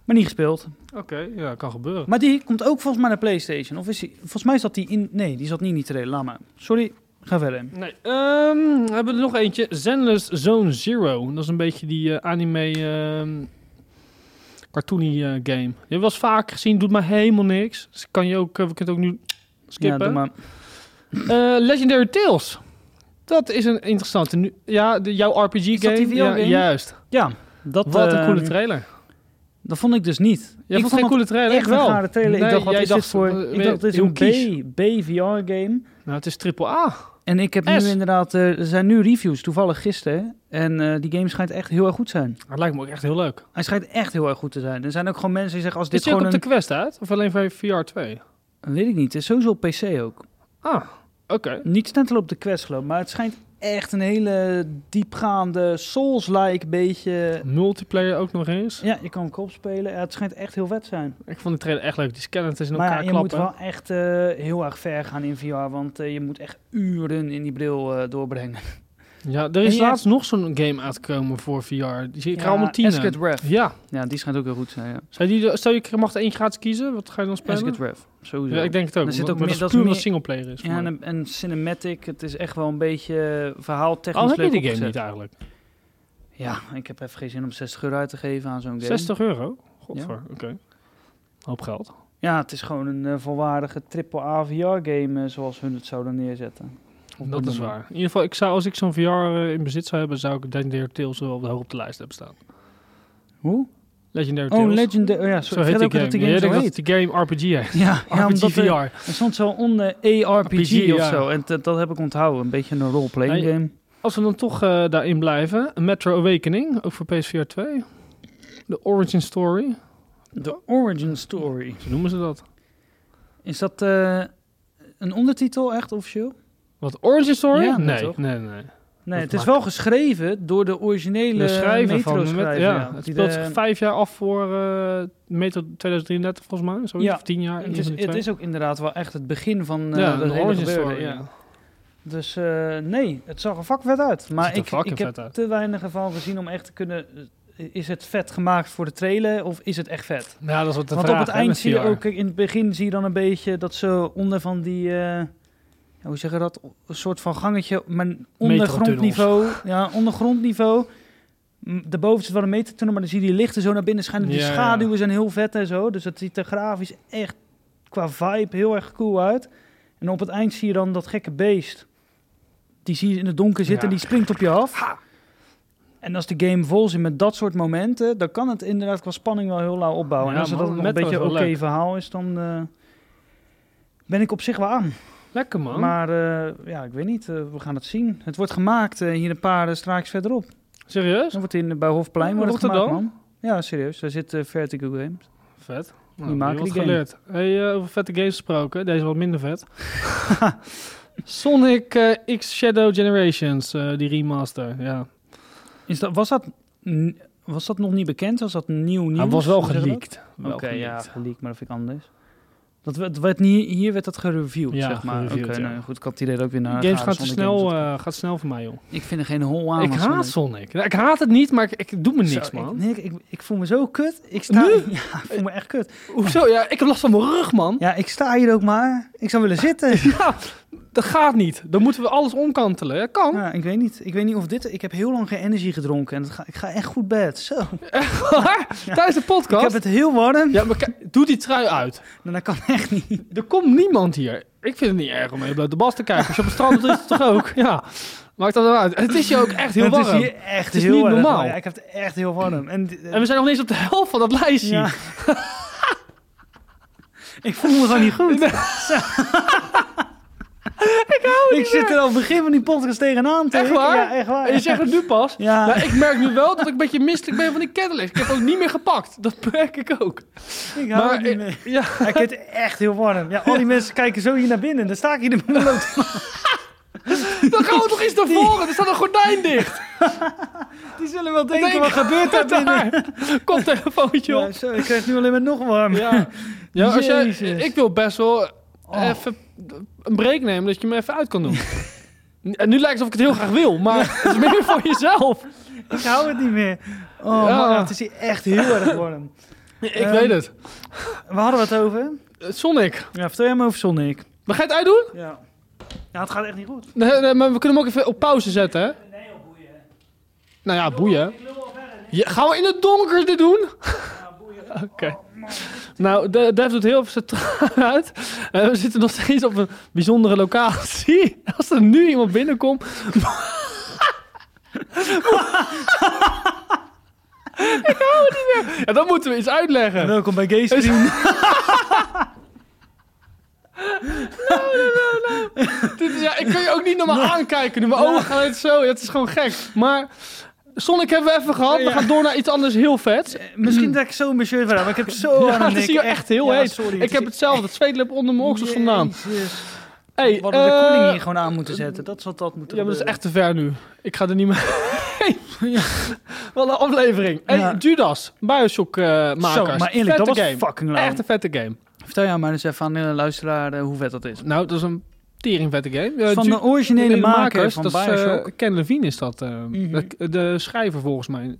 Speaker 1: Maar niet gespeeld.
Speaker 2: Oké, ja, kan gebeuren.
Speaker 1: Maar die komt ook volgens mij naar PlayStation. Of is die, volgens mij zat die in. Nee, die zat niet in die trailer. Laat maar. Sorry, ga verder.
Speaker 2: Nee, ehm, we hebben er nog eentje. Zenless Zone Zero. Dat is een beetje die eh, anime... ehm, cartoony eh, game. Die hebben we wel eens vaak gezien. Doet maar helemaal niks. Dus kan je ook... eh, we kunnen het ook nu
Speaker 1: Ja,
Speaker 2: skippen.
Speaker 1: doe maar.
Speaker 2: Eh, Legendary Tales. Dat is een interessante. Nu, ja, de, jouw
Speaker 1: Is dat
Speaker 2: RPG-game.
Speaker 1: die
Speaker 2: Ja,
Speaker 1: videogame?
Speaker 2: juist.
Speaker 1: Ja, dat,
Speaker 2: Wat een
Speaker 1: eh,
Speaker 2: coole trailer.
Speaker 1: Dat vond ik dus niet.
Speaker 2: Jij
Speaker 1: ik
Speaker 2: vond geen
Speaker 1: het
Speaker 2: coole trailer?
Speaker 1: echt
Speaker 2: Ik wel.
Speaker 1: een rare trailer.
Speaker 2: Nee,
Speaker 1: ik dacht, wat
Speaker 2: jij
Speaker 1: is dit voor...
Speaker 2: eh,
Speaker 1: ik
Speaker 2: weer
Speaker 1: dacht, dit is
Speaker 2: heel kies.
Speaker 1: een B-VR-game.
Speaker 2: Nou, het is triple A.
Speaker 1: En ik heb
Speaker 2: S.
Speaker 1: nu inderdaad... eh, er zijn nu reviews, toevallig gisteren. En eh, die game schijnt echt heel erg goed te zijn.
Speaker 2: Dat lijkt me ook echt heel leuk.
Speaker 1: Hij schijnt echt heel erg goed te zijn. Er zijn ook gewoon mensen die zeggen... Als
Speaker 2: Dit
Speaker 1: dit
Speaker 2: is die ook
Speaker 1: gewoon
Speaker 2: op de
Speaker 1: een...
Speaker 2: Quest uit? Of alleen voor VR 2?
Speaker 1: Weet ik niet. Het is sowieso op PC ook.
Speaker 2: Ah, oké.
Speaker 1: Niet snel op de Quest geloof ik, Maar het schijnt echt een hele diepgaande Souls-like beetje...
Speaker 2: Multiplayer ook nog eens.
Speaker 1: Ja, je kan hem kop spelen. Ja, het schijnt echt heel vet te zijn.
Speaker 2: Ik vond de trailer echt leuk. Die skeletons in
Speaker 1: Maar
Speaker 2: elkaar
Speaker 1: ja, je moet
Speaker 2: klappen.
Speaker 1: wel echt eh, heel erg ver gaan in VR, want eh, je moet echt uren in die bril eh, doorbrengen.
Speaker 2: Ja, er
Speaker 1: En
Speaker 2: is
Speaker 1: je-
Speaker 2: laatst nog zo'n game uitgekomen voor VR. Die zie ik er allemaal tien.
Speaker 1: Ascot Rev.
Speaker 2: Ja.
Speaker 1: Ja, die schijnt ook heel goed te zijn, ja.
Speaker 2: Zou die, stel je mag er eentje gratis kiezen, wat ga je dan spelen?
Speaker 1: Ascot Rev, sowieso.
Speaker 2: Ja, ik denk het ook.
Speaker 1: Er zit ook meer-
Speaker 2: maar dat
Speaker 1: dat
Speaker 2: is
Speaker 1: is
Speaker 2: puur
Speaker 1: meer-
Speaker 2: omdat singleplayer is.
Speaker 1: Ja, en, een- en cinematic, het is echt wel een beetje eh, verhaaltechnisch
Speaker 2: Al Oh, heb
Speaker 1: leuk
Speaker 2: je die game
Speaker 1: opgezet.
Speaker 2: niet eigenlijk.
Speaker 1: Ja, ik heb even geen zin om 60 euro uit te geven aan zo'n game.
Speaker 2: 60 euro? Godver, oké. Hoop geld.
Speaker 1: Ja, het is gewoon een eh, volwaardige AAA VR-game eh, zoals hun het zouden neerzetten. Op
Speaker 2: Dat
Speaker 1: hun
Speaker 2: is
Speaker 1: manier.
Speaker 2: waar. In ieder geval, ik zou, als ik zo'n VR eh, in bezit zou hebben, zou ik Legendary Tales wel op de hoog op de lijst hebben staan.
Speaker 1: Hoe?
Speaker 2: Legendary Tales.
Speaker 1: Oh, Legendary... Oh, ja,
Speaker 2: Zo
Speaker 1: sorry.
Speaker 2: heet
Speaker 1: ik
Speaker 2: die
Speaker 1: vergeet ook dat
Speaker 2: game.
Speaker 1: die
Speaker 2: Ja,
Speaker 1: game
Speaker 2: ik
Speaker 1: zo
Speaker 2: denk
Speaker 1: heet.
Speaker 2: dat de game RPG heet.
Speaker 1: Ja,
Speaker 2: [LAUGHS]
Speaker 1: ja,
Speaker 2: RPG
Speaker 1: omdat eh, er-
Speaker 2: VR.
Speaker 1: Er stond zo'n onder ARPG
Speaker 2: RPG,
Speaker 1: of
Speaker 2: ja.
Speaker 1: zo. En dat, dat heb ik onthouden. Een beetje een roleplaying
Speaker 2: Nee.
Speaker 1: game.
Speaker 2: Als we dan toch eh, daarin blijven, Metro Awakening, ook voor PSVR 2. De Origin Story,
Speaker 1: The Origin Story.
Speaker 2: zo noemen ze dat.
Speaker 1: Is dat eh, een ondertitel echt officieel?
Speaker 2: Wat, Origin Story?
Speaker 1: Ja, nee,
Speaker 2: nee, nee,
Speaker 1: toch?
Speaker 2: nee, nee.
Speaker 1: Nee,
Speaker 2: Dat
Speaker 1: het is
Speaker 2: maakt-
Speaker 1: wel geschreven door de originele
Speaker 2: De schrijver van
Speaker 1: metro
Speaker 2: de Met-
Speaker 1: schrijver,
Speaker 2: ja,
Speaker 1: ja.
Speaker 2: het
Speaker 1: Die de-
Speaker 2: speelt zich vijf jaar af voor eh Metro 2033 volgens mij, zoiets,
Speaker 1: Ja,
Speaker 2: of tien jaar.
Speaker 1: het, is, het is ook inderdaad wel echt het begin van eh,
Speaker 2: ja,
Speaker 1: de,
Speaker 2: de
Speaker 1: hele
Speaker 2: Origin
Speaker 1: gebeurde,
Speaker 2: Story.
Speaker 1: ja.
Speaker 2: Ja.
Speaker 1: Dus eh, nee, het zag er fuck vet uit.
Speaker 2: ziet
Speaker 1: Maar
Speaker 2: er
Speaker 1: ik,
Speaker 2: fucking
Speaker 1: ik heb
Speaker 2: vet uit.
Speaker 1: te weinig ervan gezien om echt te kunnen... eh, Is het vet gemaakt voor de trailer of is het echt vet?
Speaker 2: Nou, dat is wat de
Speaker 1: Want
Speaker 2: vraag,
Speaker 1: op het
Speaker 2: hè,
Speaker 1: eind
Speaker 2: met
Speaker 1: zie je
Speaker 2: VR.
Speaker 1: ook, kijk, in het begin zie je dan een beetje dat ze onder van die, eh, ja, hoe zeggen dat, een soort van gangetje, maar ondergrondniveau, ja, ondergrondniveau. M, Daarboven zit wel een metertunnel, maar dan zie je die lichten zo naar binnen schijnen. Dus Die
Speaker 2: Ja, ja.
Speaker 1: schaduwen zijn heel vet en zo, dus het ziet er grafisch echt qua vibe heel erg cool uit. En op het eind zie je dan dat gekke beest, die zie je in het donker zitten
Speaker 2: Ja.
Speaker 1: en die springt op je af. En als de game vol zit met dat soort momenten, dan kan het inderdaad qua spanning wel heel lauw opbouwen.
Speaker 2: Ja,
Speaker 1: en als het
Speaker 2: man,
Speaker 1: dan nog een
Speaker 2: Metro is
Speaker 1: beetje oké
Speaker 2: wel leuk.
Speaker 1: verhaal is, dan eh, ben ik op zich wel aan.
Speaker 2: Lekker man.
Speaker 1: Maar eh, ja, ik weet niet, eh, we gaan het zien. Het wordt gemaakt eh, hier een paar eh, straatjes verderop.
Speaker 2: Serieus?
Speaker 1: Dan wordt in, eh, bij Hofplein wordt het
Speaker 2: Rotterdam?
Speaker 1: gemaakt, man. Ja, serieus. Daar zit eh, Vertigo Games.
Speaker 2: Vet. Nou,
Speaker 1: Die maken
Speaker 2: wat
Speaker 1: die game.
Speaker 2: geleerd. Hey, eh, over vette games gesproken. Deze wat minder vet.
Speaker 1: [LAUGHS]
Speaker 2: Sonic eh, X Shadow Generations, eh, die remaster. Ja.
Speaker 1: Is dat, was, dat, n- was dat nog niet bekend? Was dat nieuw nieuws?
Speaker 2: Hij was wel
Speaker 1: Hoe zeg je dat?
Speaker 2: geleakt. Wel
Speaker 1: Oké, ja,
Speaker 2: geleakt.
Speaker 1: geleakt, maar dat vind ik anders. Dat werd, werd niet, hier werd dat gereviewd,
Speaker 2: Ja,
Speaker 1: zeg maar. Oké,
Speaker 2: gereviewd, ja.
Speaker 1: nou, goed, ik had die idee dat ook weer naar...
Speaker 2: games
Speaker 1: gaan,
Speaker 2: gaat, te
Speaker 1: Sonic
Speaker 2: snel,
Speaker 1: Games.
Speaker 2: eh, gaat snel voor mij, joh.
Speaker 1: Ik vind er geen hol aan.
Speaker 2: ik
Speaker 1: aan
Speaker 2: haat
Speaker 1: Sonic.
Speaker 2: Sonic. Nou, ik haat het niet, maar ik, ik doe me
Speaker 1: Zo,
Speaker 2: niks,
Speaker 1: Ik,
Speaker 2: man.
Speaker 1: nee, ik, ik, ik voel me zo kut. Ik sta,
Speaker 2: Nu?
Speaker 1: [LAUGHS] Ja, ik voel me echt kut.
Speaker 2: Hoezo? Ja, ik heb last van mijn rug, man.
Speaker 1: Ja, ik sta hier ook maar. Ik zou willen zitten.
Speaker 2: Ja, dat gaat niet. Dan moeten we alles omkantelen. Dat [LAUGHS] kan.
Speaker 1: Ja, ik weet niet. Ik weet niet of dit... Ik heb heel lang geen energie gedronken. En het ga, ik ga echt goed bed. Zo.
Speaker 2: Tijdens de
Speaker 1: Ik
Speaker 2: podcast.
Speaker 1: heb het heel warm.
Speaker 2: Ja, maar kijk, doe die trui uit.
Speaker 1: En dat kan echt niet.
Speaker 2: Er komt niemand hier. Ik vind het niet erg om heel blote bas te kijken. Als je op het strand doet, is het toch ook? Ja. Maakt dat wel uit. Het is hier ook echt heel
Speaker 1: het
Speaker 2: warm.
Speaker 1: is hier echt
Speaker 2: is
Speaker 1: heel
Speaker 2: niet
Speaker 1: erg
Speaker 2: normaal.
Speaker 1: warm. Ja, ik heb het echt heel warm. En,
Speaker 2: En we zijn nog niet eens op de helft van dat lijstje. [LAUGHS]
Speaker 1: Ja. [LAUGHS] ik voel me gewoon niet goed.
Speaker 2: Nee.
Speaker 1: Zo. ik zit er al begin van die podcast tegenaan. te
Speaker 2: Echt
Speaker 1: hikken.
Speaker 2: waar?
Speaker 1: Ja, echt waar.
Speaker 2: En je zegt het nu pas.
Speaker 1: Ja.
Speaker 2: Nou, ik merk nu wel dat ik een beetje misselijk ben van die Cadillac. Ik heb ook niet meer gepakt. Dat merk ik ook.
Speaker 1: Ik hou
Speaker 2: Maar,
Speaker 1: het niet
Speaker 2: eh,
Speaker 1: meer.
Speaker 2: Ja.
Speaker 1: Ja, ik vind het echt heel warm. Ja, al die mensen kijken zo hier naar binnen. en Dan sta ik hier de loop.
Speaker 2: Dan gaan we toch eens naar voren. Er staat een gordijn
Speaker 1: [LAUGHS]
Speaker 2: dicht.
Speaker 1: Die zullen wel denken,
Speaker 2: Denk-
Speaker 1: wat gebeurt daar binnen?
Speaker 2: [LAUGHS] Daar. Koptelefoontje
Speaker 1: Ja,
Speaker 2: op.
Speaker 1: zo, ik krijg het nu alleen maar nog warm.
Speaker 2: Ja. Ja, als jij,
Speaker 1: Jezus.
Speaker 2: ik wil best wel
Speaker 1: Oh.
Speaker 2: even een break nemen dat je me even uit kan doen. [LAUGHS] En nu lijkt het alsof ik het heel graag wil, maar het is meer voor jezelf.
Speaker 1: Ik hou het niet meer. Oh,
Speaker 2: Ja.
Speaker 1: man, het is hier echt heel erg warm.
Speaker 2: Ik
Speaker 1: Ehm,
Speaker 2: weet het.
Speaker 1: We hadden het over.
Speaker 2: Eh, Sonic,
Speaker 1: Ja, vertel jij me over Sonic.
Speaker 2: we gaan het uitdoen?
Speaker 1: Ja. Ja, het gaat echt niet goed.
Speaker 2: Nee, nee, maar we kunnen hem ook even op pauze zetten, hè?
Speaker 1: Nee, op boeien.
Speaker 2: Nou ja, boeien.
Speaker 1: Ik lul al verder.
Speaker 2: Ja, gaan we in het donker dit doen?
Speaker 1: Ja, boeien.
Speaker 2: Oké. Nou, de- Def doet heel even traag uit. Eh, we zitten nog steeds op een bijzondere locatie. [LAUGHS] Als er nu iemand binnenkomt... [LAUGHS] Ik hou het niet meer. Ja, dan moeten we iets uitleggen.
Speaker 1: Welkom bij Gaystream. [LAUGHS]
Speaker 2: Dit is, ja, ik kan je ook niet normaal aankijken nu. Mijn ogen gaan het zo. Ja, Het is gewoon gek. Maar Sonic hebben we even gehad. We
Speaker 1: Ja.
Speaker 2: gaan door naar iets anders heel vets.
Speaker 1: Eh, Misschien dat ik zo mijn shirt weer aan, maar ik heb zo
Speaker 2: Ja,
Speaker 1: aan
Speaker 2: het
Speaker 1: het
Speaker 2: is
Speaker 1: denken.
Speaker 2: hier echt heel heet.
Speaker 1: sorry,
Speaker 2: Ik heb hetzelfde. Het zweetlip onder mijn oksels vandaan.
Speaker 1: Jezus.
Speaker 2: Hey,
Speaker 1: We hadden de koeling
Speaker 2: eh,
Speaker 1: hier gewoon aan moeten zetten. Dat zat dat moeten
Speaker 2: Ja, maar dat is
Speaker 1: gebeuren.
Speaker 2: echt te ver nu. Ik ga er niet meer [LAUGHS] heen. Wat een aflevering. Hey,
Speaker 1: Ja.
Speaker 2: Judas, Bioshock-makers.
Speaker 1: Zo, maar eerlijk, dat was
Speaker 2: game.
Speaker 1: fucking leuk.
Speaker 2: Echt een vette game.
Speaker 1: Vertel jou maar eens even aan de luisteraar eh, hoe vet dat is.
Speaker 2: Nou, dat is een teringvette game. Eh,
Speaker 1: van
Speaker 2: Ju-
Speaker 1: de originele
Speaker 2: de
Speaker 1: makers van
Speaker 2: dat is, eh,
Speaker 1: Bioshock.
Speaker 2: Ken Levine is dat. eh,
Speaker 1: Mhm.
Speaker 2: de, de schrijver volgens mij.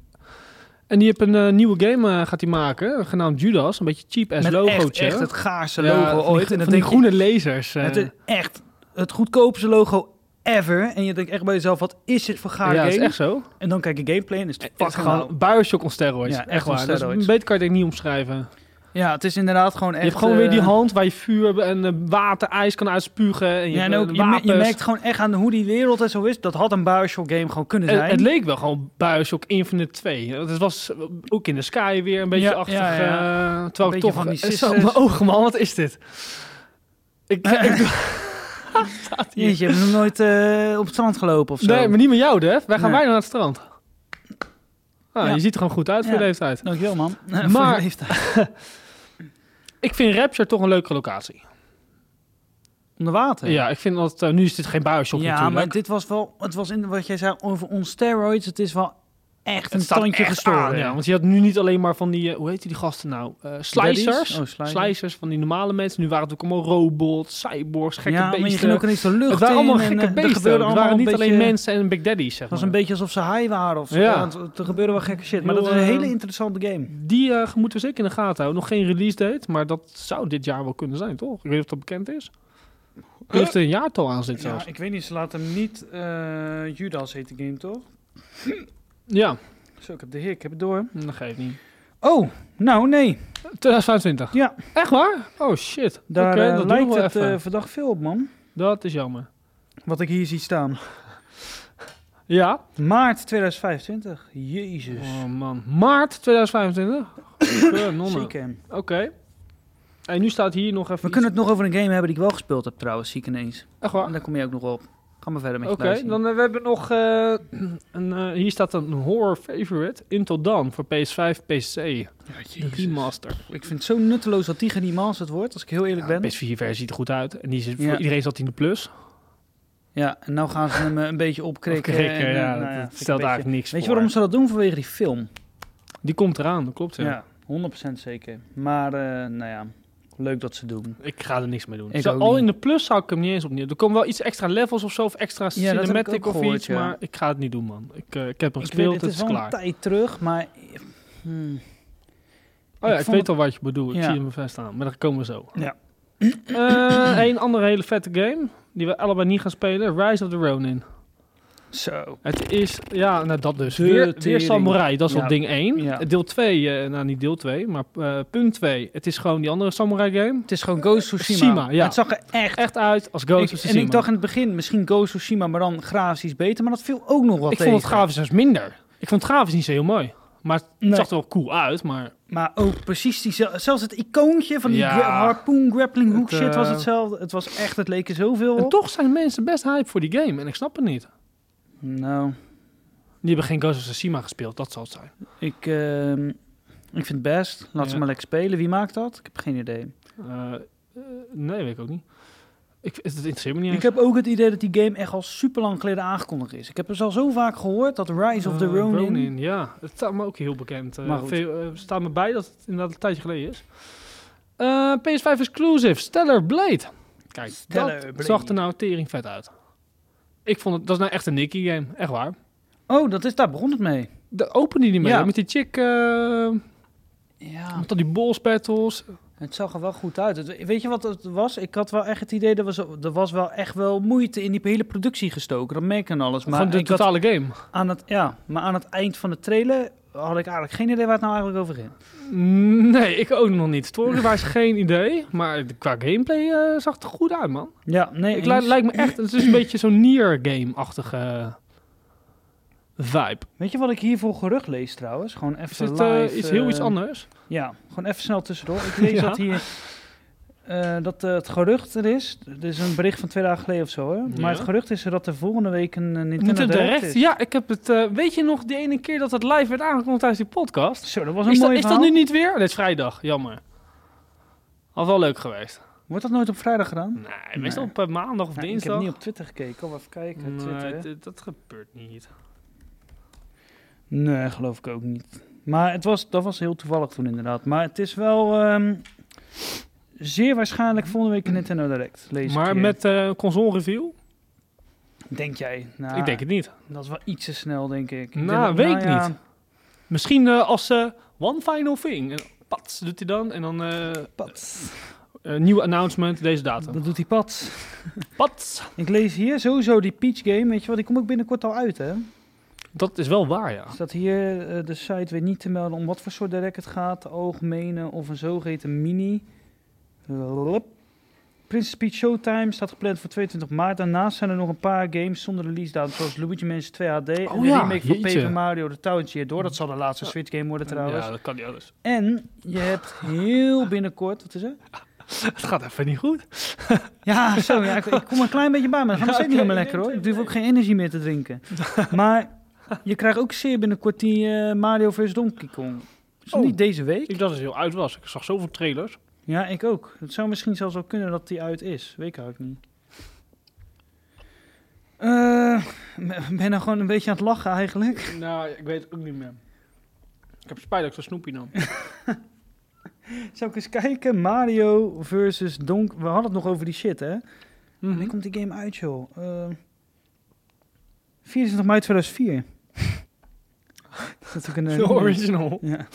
Speaker 2: En die heeft een eh, nieuwe game eh, gaat hij maken, genaamd Judas. Een beetje cheap ass
Speaker 1: met echt,
Speaker 2: logootje.
Speaker 1: echt het gaarste
Speaker 2: Ja, van
Speaker 1: logo
Speaker 2: die-
Speaker 1: ooit.
Speaker 2: Van
Speaker 1: en
Speaker 2: die,
Speaker 1: dan denk je,
Speaker 2: groene lasers. eh.
Speaker 1: Het is echt het goedkoopste logo ever. En je denkt echt bij jezelf, wat is dit voor gaar
Speaker 2: ja, dat is
Speaker 1: game?
Speaker 2: echt zo.
Speaker 1: En dan kijk je gameplay en is het
Speaker 2: Het is
Speaker 1: fucking
Speaker 2: gewoon
Speaker 1: lauw.
Speaker 2: Bioshock on steroids.
Speaker 1: Ja,
Speaker 2: echt
Speaker 1: echt on
Speaker 2: waar. Dat is-
Speaker 1: steroids.
Speaker 2: beter kan je het niet omschrijven.
Speaker 1: Ja, het is inderdaad gewoon echt...
Speaker 2: je hebt gewoon weer die
Speaker 1: eh,
Speaker 2: hand waar je vuur en eh, water, ijs kan uitspugen. En je,
Speaker 1: Ja, en
Speaker 2: hebt,
Speaker 1: ook,
Speaker 2: eh,
Speaker 1: je, me- je
Speaker 2: wapens.
Speaker 1: merkt gewoon echt aan hoe die wereld en zo is. Dat had een Bioshock game gewoon kunnen
Speaker 2: het,
Speaker 1: zijn.
Speaker 2: het leek wel gewoon Bioshock Infinite 2. Het was eh, ook in de sky weer een beetje
Speaker 1: Ja,
Speaker 2: achtig.
Speaker 1: ja, ja.
Speaker 2: eh, terwijl
Speaker 1: Een
Speaker 2: ik
Speaker 1: beetje
Speaker 2: toch...
Speaker 1: van die
Speaker 2: eh, zo,
Speaker 1: sisters.
Speaker 2: mijn ogen man, wat is dit?
Speaker 1: [LAUGHS]
Speaker 2: Ik, ik, staat hier.
Speaker 1: Jeetje, je hebt nog nooit eh, op het strand gelopen of zo.
Speaker 2: nee, maar niet met jou, Def. Wij
Speaker 1: Nee.
Speaker 2: gaan bijna naar het strand. Ah,
Speaker 1: Ja.
Speaker 2: Je ziet er gewoon goed uit voor
Speaker 1: Ja.
Speaker 2: je leeftijd.
Speaker 1: Dankjewel, man. [LAUGHS] Voor
Speaker 2: Maar-
Speaker 1: je leeftijd.
Speaker 2: Ik vind Rapture toch een leuke locatie.
Speaker 1: Onder water.
Speaker 2: Ja, ik vind dat... eh, nu is dit geen Bioshock
Speaker 1: Ja,
Speaker 2: natuurlijk.
Speaker 1: maar dit was wel... Het was in wat jij zei over on steroids. Het is wel echt een
Speaker 2: Het staat
Speaker 1: standje
Speaker 2: echt aan,
Speaker 1: gestoord.
Speaker 2: ja, want je had nu niet alleen maar van die, eh, hoe heet die gasten nou? Eh, slicers.
Speaker 1: Daddies? Oh, slicers.
Speaker 2: Slicers van die normale mensen. Nu waren het ook allemaal robots, cyborgs, gekke
Speaker 1: ja, maar je
Speaker 2: beesten.
Speaker 1: ging ook ineens de lucht
Speaker 2: het waren allemaal
Speaker 1: in en,
Speaker 2: gekke
Speaker 1: eh, er
Speaker 2: beesten.
Speaker 1: gebeurde
Speaker 2: het
Speaker 1: allemaal
Speaker 2: waren niet
Speaker 1: een
Speaker 2: alleen
Speaker 1: beetje-
Speaker 2: mensen en Big Daddy's, zeg
Speaker 1: Het was
Speaker 2: maar.
Speaker 1: een beetje alsof ze high waren of zo.
Speaker 2: Ja.
Speaker 1: Want er gebeurde wel gekke shit. Maar
Speaker 2: Heel,
Speaker 1: dat is een
Speaker 2: eh,
Speaker 1: hele interessante game.
Speaker 2: Die eh, moeten we zeker in de gaten houden. Nog geen release date, maar dat zou dit jaar wel kunnen zijn, toch? Ik weet niet of dat bekend is. Ik weet of er een jaartal aan zit zelfs.
Speaker 1: ik weet niet. Ze laten hem niet eh, Judas heet de game, toch?
Speaker 2: Ja,
Speaker 1: Zo, ik heb de hik. Ik heb het door.
Speaker 2: dat geeft niet.
Speaker 1: Oh, nou nee.
Speaker 2: 2025?
Speaker 1: Ja.
Speaker 2: Echt waar? Oh shit.
Speaker 1: Daar
Speaker 2: Oké,
Speaker 1: eh,
Speaker 2: dat doen we
Speaker 1: lijkt
Speaker 2: wel
Speaker 1: het
Speaker 2: even.
Speaker 1: eh verdacht veel op, man.
Speaker 2: dat is jammer.
Speaker 1: Wat ik hier zie staan.
Speaker 2: Ja,
Speaker 1: Maart 2025. Jezus.
Speaker 2: Oh man, maart [COUGHS] 2025? Genonne. Oké.
Speaker 1: Zeker.
Speaker 2: En nu staat hier nog even
Speaker 1: We
Speaker 2: iets-
Speaker 1: kunnen het nog over een game hebben die ik wel gespeeld heb trouwens, zie ik ineens.
Speaker 2: Echt
Speaker 1: En
Speaker 2: waar?
Speaker 1: daar kom je ook nog wel op. Ga maar verder met
Speaker 2: Ah. Oké,
Speaker 1: je lijstje.
Speaker 2: dan eh, we hebben nog... eh, [CLEARS THROAT] een, eh, hier staat een horror favorite, Until Dawn, voor PS5, PC.
Speaker 1: Ja,
Speaker 2: De
Speaker 1: jezus.
Speaker 2: remaster.
Speaker 1: Ik vind het zo nutteloos dat die geremasterd wordt, als ik heel eerlijk ben.
Speaker 2: PS4-versie ziet er goed uit. En die zit,
Speaker 1: Ja.
Speaker 2: voor iedereen zat in de plus.
Speaker 1: Ja, en nou gaan ze hem eh, een beetje opkrikken.
Speaker 2: Krikken,
Speaker 1: en, eh,
Speaker 2: ja,
Speaker 1: nou ja,
Speaker 2: dat- dat
Speaker 1: vind ik
Speaker 2: stelt
Speaker 1: een beetje-
Speaker 2: eigenlijk niks
Speaker 1: Weet je
Speaker 2: voor.
Speaker 1: waarom ze dat doen? Vanwege die film.
Speaker 2: Die komt eraan, dat klopt. Ja.
Speaker 1: Ja, 100% zeker. Maar, eh, nou ja, leuk dat ze doen.
Speaker 2: Ik ga er niks mee doen.
Speaker 1: Ik
Speaker 2: Zo,
Speaker 1: ook
Speaker 2: al
Speaker 1: niet.
Speaker 2: in de plus zou ik hem niet eens opnieuw Er komen wel iets extra levels of zo, of extra
Speaker 1: dat heb ik
Speaker 2: cinematic
Speaker 1: ook
Speaker 2: of
Speaker 1: gehoord,
Speaker 2: iets.
Speaker 1: ja.
Speaker 2: Maar ik ga het niet doen, man. Ik, eh, ik heb hem
Speaker 1: Ik
Speaker 2: gespeeld,
Speaker 1: weet,
Speaker 2: het is
Speaker 1: is wel
Speaker 2: klaar.
Speaker 1: een tijd terug, maar... hmm.
Speaker 2: Oh ja,
Speaker 1: Ik
Speaker 2: ik,
Speaker 1: vond
Speaker 2: weet al wat je bedoelt. Ik
Speaker 1: Ja.
Speaker 2: zie hem vast staan, maar daar komen we zo.
Speaker 1: Ja.
Speaker 2: Eh, een andere hele vette game, die we allebei niet gaan spelen, Rise of the Ronin.
Speaker 1: Zo.
Speaker 2: Het is, ja, nou dat dus.
Speaker 1: De
Speaker 2: Weer, weer
Speaker 1: tering.
Speaker 2: Samurai, dat is al
Speaker 1: Ja.
Speaker 2: ding 1.
Speaker 1: Ja.
Speaker 2: Deel 2, nou niet deel 2, maar eh, punt 2. Het is gewoon die andere Samurai game.
Speaker 1: Het is gewoon Ghost of
Speaker 2: Tsushima,
Speaker 1: Tsushima.
Speaker 2: ja.
Speaker 1: Het zag er echt...
Speaker 2: Echt uit als Ghost
Speaker 1: Ik-
Speaker 2: of
Speaker 1: en
Speaker 2: Tsushima.
Speaker 1: ik dacht in het begin, misschien Ghost of Tsushima, maar dan grafisch beter. Maar dat viel ook nog wel
Speaker 2: Ik
Speaker 1: tegen.
Speaker 2: vond het grafisch zelfs minder. Ik vond het grafisch niet zo heel mooi. Maar het
Speaker 1: Nee.
Speaker 2: zag er wel cool uit, maar
Speaker 1: Maar ook precies die, zelfs het icoontje van die
Speaker 2: Ja.
Speaker 1: gra- harpoon grappling hook
Speaker 2: Het,
Speaker 1: shit was
Speaker 2: eh,
Speaker 1: hetzelfde. Het was echt, het leek er zoveel
Speaker 2: en
Speaker 1: op.
Speaker 2: toch zijn mensen best hype voor die game en ik snap het niet.
Speaker 1: Nou,
Speaker 2: Die hebben geen Ghost of Tsushima gespeeld, dat zal het zijn.
Speaker 1: ik, ehm, ik vind het best. Laat
Speaker 2: Ja.
Speaker 1: ze maar lekker spelen. Wie maakt dat? Ik heb geen idee.
Speaker 2: Eh, eh, nee, weet ik ook niet. Ik, het interesseert me niet
Speaker 1: Ik
Speaker 2: eens.
Speaker 1: heb ook het idee dat die game echt al super lang geleden aangekondigd is. Ik heb dus al zo vaak gehoord dat Rise of the
Speaker 2: Eh,
Speaker 1: Ronin...
Speaker 2: ja. Het staat me ook heel bekend. Eh
Speaker 1: Maar goed.
Speaker 2: veel, eh, staat me bij dat het inderdaad een tijdje geleden is. Eh, PS5 exclusive, Stellar Blade. Kijk,
Speaker 1: Stellar
Speaker 2: dat
Speaker 1: Blade.
Speaker 2: zag er nou tering vet uit. Ik vond het, dat is nou echt een Nicky game, echt waar.
Speaker 1: Oh, dat is, daar begon het mee.
Speaker 2: De opende die mee,
Speaker 1: Ja. Ah.
Speaker 2: hè, met die chick, eh,
Speaker 1: Ja,
Speaker 2: met al die balls battles.
Speaker 1: het zag er wel goed uit. Het- weet je wat het was? Ik had wel echt het idee, dat was, er was wel echt wel moeite in die hele productie gestoken. Dat merk ik en alles. Maar
Speaker 2: van de
Speaker 1: ik had
Speaker 2: totale game.
Speaker 1: Aan het, ja, maar aan het eind van de trailer had ik eigenlijk geen idee waar het nou eigenlijk over ging.
Speaker 2: Nee, ik ook nog niet. Story-wise
Speaker 1: [LAUGHS]
Speaker 2: geen idee. Maar de- qua gameplay eh, zag het er goed uit, man.
Speaker 1: Ja, nee,
Speaker 2: Ik li-
Speaker 1: eens.
Speaker 2: lijkt me echt... Het is een beetje zo'n Nier-game-achtige vibe.
Speaker 1: Weet je wat ik hiervoor gerucht lees trouwens? Gewoon even
Speaker 2: Is het eh,
Speaker 1: live,
Speaker 2: iets heel
Speaker 1: eh,
Speaker 2: iets anders?
Speaker 1: Ja, gewoon even snel tussendoor.
Speaker 2: [LAUGHS]
Speaker 1: Ik lees
Speaker 2: Ja.
Speaker 1: dat hier... eh, dat eh, het gerucht er is. Dit is een bericht van twee dagen geleden of zo, hè? Maar het gerucht is er dat er volgende week een eh, Nintendo
Speaker 2: Nintendo
Speaker 1: Direct
Speaker 2: Direct?
Speaker 1: is.
Speaker 2: Ja, ik heb het... eh, weet je nog die ene keer dat het live werd aangekondigd tijdens die podcast?
Speaker 1: Zo, dat was een
Speaker 2: Is dat,
Speaker 1: mooi
Speaker 2: is dat
Speaker 1: verhaal.
Speaker 2: nu niet weer? Dit is vrijdag, jammer. Had wel leuk geweest.
Speaker 1: Wordt dat nooit op vrijdag gedaan?
Speaker 2: Nee, meestal
Speaker 1: Nee.
Speaker 2: op eh, maandag of
Speaker 1: Nou, ik heb
Speaker 2: dinsdag.
Speaker 1: niet op Twitter gekeken. Oh, even kijken. Twitter, hè?
Speaker 2: nee, dit- dat gebeurt niet.
Speaker 1: Nee, geloof ik ook niet. Maar het was, dat was heel toevallig toen inderdaad. Maar het is wel ehm, zeer waarschijnlijk volgende week een Nintendo Direct. Lees ik
Speaker 2: Maar
Speaker 1: hier.
Speaker 2: met eh, console review?
Speaker 1: Denk jij? Nou,
Speaker 2: Ik denk het niet.
Speaker 1: Dat is wel iets te snel, denk ik. ik.
Speaker 2: Nou,
Speaker 1: denk dat-
Speaker 2: weet ik
Speaker 1: ja,
Speaker 2: niet. Misschien eh, als eh, One Final Thing. En pats doet hij dan. En dan eh
Speaker 1: Pats.
Speaker 2: eh, nieuw announcement, deze datum.
Speaker 1: Dat doet die pad.
Speaker 2: Pats!
Speaker 1: Ik lees hier sowieso die Peach Game. Weet je wat, die kom ik binnenkort al uit, hè?
Speaker 2: Dat is wel waar, ja.
Speaker 1: Staat hier eh, de site weer niet te melden om wat voor soort direct het gaat. De algemene of een zogeheten mini. Lop. Princess Peach Showtime staat gepland voor 22 maart. Daarnaast zijn er nog een paar games zonder release datum. Zoals Luigi Mansion 2 HD. en
Speaker 2: Oh
Speaker 1: de
Speaker 2: ja,
Speaker 1: remake van
Speaker 2: jeetje. Mm.
Speaker 1: Paper Mario The Town Cheer door. Dat zal de laatste Switch game worden trouwens.
Speaker 2: Ja, dat kan niet anders.
Speaker 1: En je hebt heel binnenkort... Wat is er?
Speaker 2: Het gaat even niet goed.
Speaker 1: Ja, zo. Ja, ik, ik kom een klein beetje bij me. Dat gaat nog
Speaker 2: Ja,
Speaker 1: steeds niet
Speaker 2: oké,
Speaker 1: helemaal
Speaker 2: nee,
Speaker 1: lekker hoor.
Speaker 2: nee,
Speaker 1: Ik durf
Speaker 2: nee.
Speaker 1: ook geen energie meer te drinken. Maar je krijgt ook zeer binnenkort die eh, Mario vs Donkey Kong. Is dat
Speaker 2: Oh.
Speaker 1: niet deze week?
Speaker 2: Ik dacht dat het heel uit was. Ik zag zoveel trailers.
Speaker 1: Ja, ik ook. Het zou misschien zelfs wel kunnen dat die uit is. Weet ik eigenlijk niet. Eh, ik ben nou gewoon een beetje aan het lachen eigenlijk.
Speaker 2: Nou, ik weet het ook niet meer. Ik heb spijt dat ik zo'n snoepje [LAUGHS] nam.
Speaker 1: Zou ik eens kijken? Mario versus Donk. We hadden het nog over die shit, hè? Wanneer
Speaker 2: Mhm.
Speaker 1: komt die game uit, joh? Eh 24 mei 2004. [LAUGHS] dat is ook een... eh,
Speaker 2: Zo original.
Speaker 1: Ja.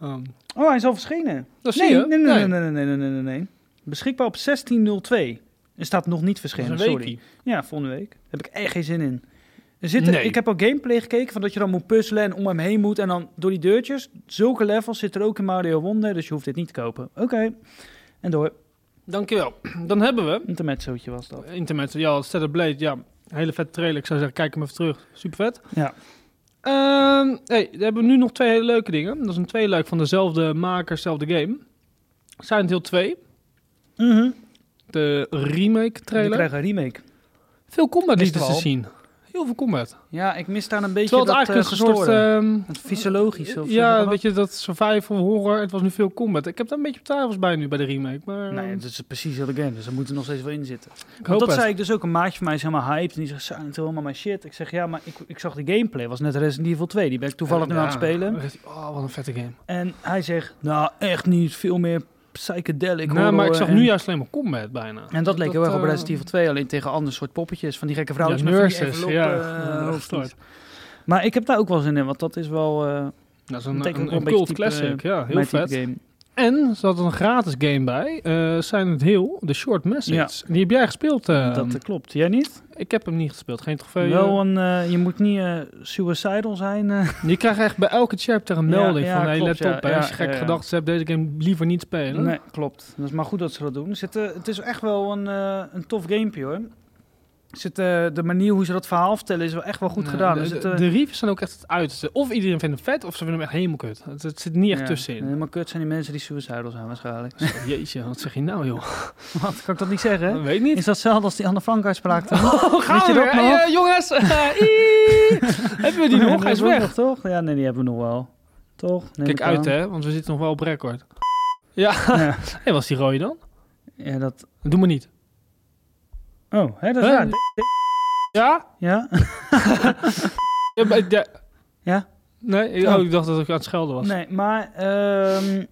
Speaker 2: Ehm,
Speaker 1: Oh, hij is al verschenen.
Speaker 2: dat zie
Speaker 1: Nee,
Speaker 2: je.
Speaker 1: nee, nee, nee, nee, nee, nee, nee, nee, nee. Beschikbaar op 16.02. Er staat nog niet
Speaker 2: Dat is
Speaker 1: verschenen,
Speaker 2: een
Speaker 1: sorry.
Speaker 2: weekie.
Speaker 1: Ja, volgende week. Daar heb ik echt geen zin in. Er zitten,
Speaker 2: Nee.
Speaker 1: Ik heb al gameplay gekeken van dat je dan moet puzzelen en om hem heen moet. En dan door die deurtjes. Zulke levels zitten er ook in Mario Wonder, dus je hoeft dit niet te kopen. Oké. En door.
Speaker 2: Dankjewel. Dan hebben we...
Speaker 1: Intermezzootje was dat.
Speaker 2: Internet, ja, Set of Blade, ja. Hele vette trailer. Ik zou zeggen, kijk hem even terug. Super vet.
Speaker 1: Ja.
Speaker 2: Ehm, hey, we hebben nu nog twee hele leuke dingen. Dat is een tweeluik van dezelfde maker, dezelfde game. Silent Hill 2,
Speaker 1: Mhm.
Speaker 2: de remake
Speaker 1: We
Speaker 2: trailer.
Speaker 1: krijgen een remake.
Speaker 2: Veel combat
Speaker 1: Wisten
Speaker 2: lieten
Speaker 1: we
Speaker 2: ze
Speaker 1: al.
Speaker 2: zien. Heel veel combat.
Speaker 1: Ja, ik mis daar een beetje
Speaker 2: Terwijl het
Speaker 1: dat eh
Speaker 2: eigenlijk een soort...
Speaker 1: gestoorde.
Speaker 2: ehm,
Speaker 1: Het fysiologische of zo.
Speaker 2: ja, weet je, dat survival horror. Het was nu veel combat. Ik heb daar een beetje op tafels bij nu, bij de remake. Maar
Speaker 1: Nee,
Speaker 2: ehm,
Speaker 1: dat is precies heel de game, dus daar moeten we nog steeds wel in zitten.
Speaker 2: ik hoop
Speaker 1: Want dat
Speaker 2: het.
Speaker 1: zei ik dus ook, een maatje van mij is helemaal hyped en die zegt, Silent Hill, helemaal mijn shit. Ik zeg, ja, maar ik, ik zag de gameplay, was net Resident Evil 2, die ben ik toevallig
Speaker 2: Eh,
Speaker 1: nu
Speaker 2: ja.
Speaker 1: aan het spelen.
Speaker 2: Dan zegt hij, Oh, wat een vette game.
Speaker 1: En hij zegt, nou echt niet, veel meer psychedelic
Speaker 2: nou, maar ik
Speaker 1: horror
Speaker 2: zag
Speaker 1: en-
Speaker 2: nu juist alleen maar combat bijna.
Speaker 1: eh, En dat leek heel erg op
Speaker 2: eh,
Speaker 1: Resident Evil 2, alleen tegen ander soort poppetjes, van die gekke
Speaker 2: Ja,
Speaker 1: vrouwtjes met van die
Speaker 2: nurses,
Speaker 1: enveloppen,
Speaker 2: ja.
Speaker 1: eh,
Speaker 2: Ja,
Speaker 1: hoofdjes.
Speaker 2: gestoord.
Speaker 1: Maar ik heb daar ook wel zin in, want dat is wel eh
Speaker 2: Dat is
Speaker 1: Dat
Speaker 2: een,
Speaker 1: betekent
Speaker 2: een,
Speaker 1: ook
Speaker 2: een
Speaker 1: wel een
Speaker 2: cult
Speaker 1: beetje eh,
Speaker 2: classic, ja, heel
Speaker 1: mijn type
Speaker 2: vet.
Speaker 1: game.
Speaker 2: En ze hadden een gratis game bij, eh Silent Hill, The Short Message. Die heb jij gespeeld. eh,
Speaker 1: dat eh, klopt. Jij niet?
Speaker 2: ik heb hem niet gespeeld, geen trofee.
Speaker 1: wel een, eh, je moet niet eh, suicidal zijn. eh.
Speaker 2: Je krijgt echt bij elke chapter een melding
Speaker 1: Ja, ja,
Speaker 2: van, hey,
Speaker 1: klopt,
Speaker 2: let op,
Speaker 1: ja,
Speaker 2: hè,
Speaker 1: ja,
Speaker 2: als je gek
Speaker 1: ja, ja.
Speaker 2: gedachten hebt, deze game liever niet spelen.
Speaker 1: Nee, klopt. Dat is maar goed dat ze dat doen. Zit, eh, het is echt wel een, eh, een tof gamepje hoor. Zit, eh, de manier hoe ze dat verhaal vertellen is wel echt wel goed
Speaker 2: Nee,
Speaker 1: gedaan.
Speaker 2: De,
Speaker 1: Er zit,
Speaker 2: de-
Speaker 1: eh,
Speaker 2: de reviews zijn ook echt het uiterste. Of iedereen vindt hem vet, of ze vinden hem echt helemaal kut. Het, het zit niet echt
Speaker 1: ja,
Speaker 2: tussenin.
Speaker 1: Helemaal kut zijn die mensen die suicidal zijn waarschijnlijk. [LAUGHS]
Speaker 2: Jeetje, wat zeg je nou, joh?
Speaker 1: Wat, kan ik dat niet zeggen? hè?
Speaker 2: Dat weet ik niet.
Speaker 1: [LAUGHS] Is dat hetzelfde als die Anne Frank uitspraak? [LAUGHS] toen?
Speaker 2: Oh, gaan
Speaker 1: Weet je
Speaker 2: we
Speaker 1: dat nog?
Speaker 2: weer. Hey, eh, jongens, [LAUGHS] Iee. hebben
Speaker 1: [LAUGHS]
Speaker 2: we die nog? Hij is
Speaker 1: hebben we
Speaker 2: weg.
Speaker 1: nog, toch? Ja, nee, die hebben we nog wel. Toch? Neem
Speaker 2: Kijk
Speaker 1: ik
Speaker 2: uit,
Speaker 1: aan.
Speaker 2: hè, want we zitten nog wel op record. Ja,
Speaker 1: [LAUGHS] Ja.
Speaker 2: hey, was die rode dan?
Speaker 1: Ja, dat...
Speaker 2: Doe maar niet.
Speaker 1: Oh, hè, dat is
Speaker 2: Huh?
Speaker 1: waar.
Speaker 2: Ja?
Speaker 1: Ja?
Speaker 2: Ja, maar- ja.
Speaker 1: Ja?
Speaker 2: Nee,
Speaker 1: Oh.
Speaker 2: oh, ik dacht dat ik aan het schelden was.
Speaker 1: Nee, maar... ehm,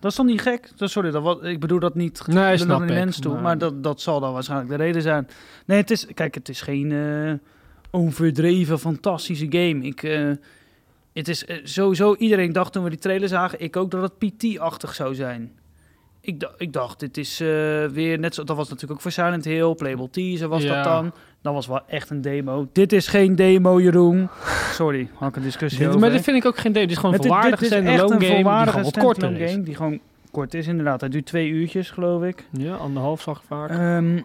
Speaker 1: dat is dan niet gek? Dat- Sorry, dat, wat, ik bedoel dat niet
Speaker 2: Nee,
Speaker 1: Ik
Speaker 2: snap
Speaker 1: naar
Speaker 2: ik,
Speaker 1: die mensen toe. Maar, dat, dat zal dan waarschijnlijk de reden zijn. Nee, het is, kijk, het is geen eh, overdreven fantastische game. Ik, eh, het is eh, sowieso, iedereen dacht toen we die trailer zagen, ik ook, dat het PT-achtig zou zijn. Ik, da- ik dacht, dit is eh, weer net zo. Dat was natuurlijk ook voor Silent Hill, Playable Teaser was
Speaker 2: Ja.
Speaker 1: dat dan. Dat was wel echt een demo. Dit is geen demo, Jeroen. Sorry, had ik een discussie
Speaker 2: Dit-
Speaker 1: over.
Speaker 2: maar dit vind ik ook geen demo. Dit is gewoon een
Speaker 1: Met dit- dit
Speaker 2: volwaardige
Speaker 1: is echt
Speaker 2: standalone
Speaker 1: een
Speaker 2: game die
Speaker 1: volwaardige
Speaker 2: gewoon wat korter
Speaker 1: standalone
Speaker 2: is.
Speaker 1: game die gewoon kort is, inderdaad. Hij duurt twee uurtjes, geloof ik.
Speaker 2: Ja, anderhalf zag ik vaak.
Speaker 1: Ehm,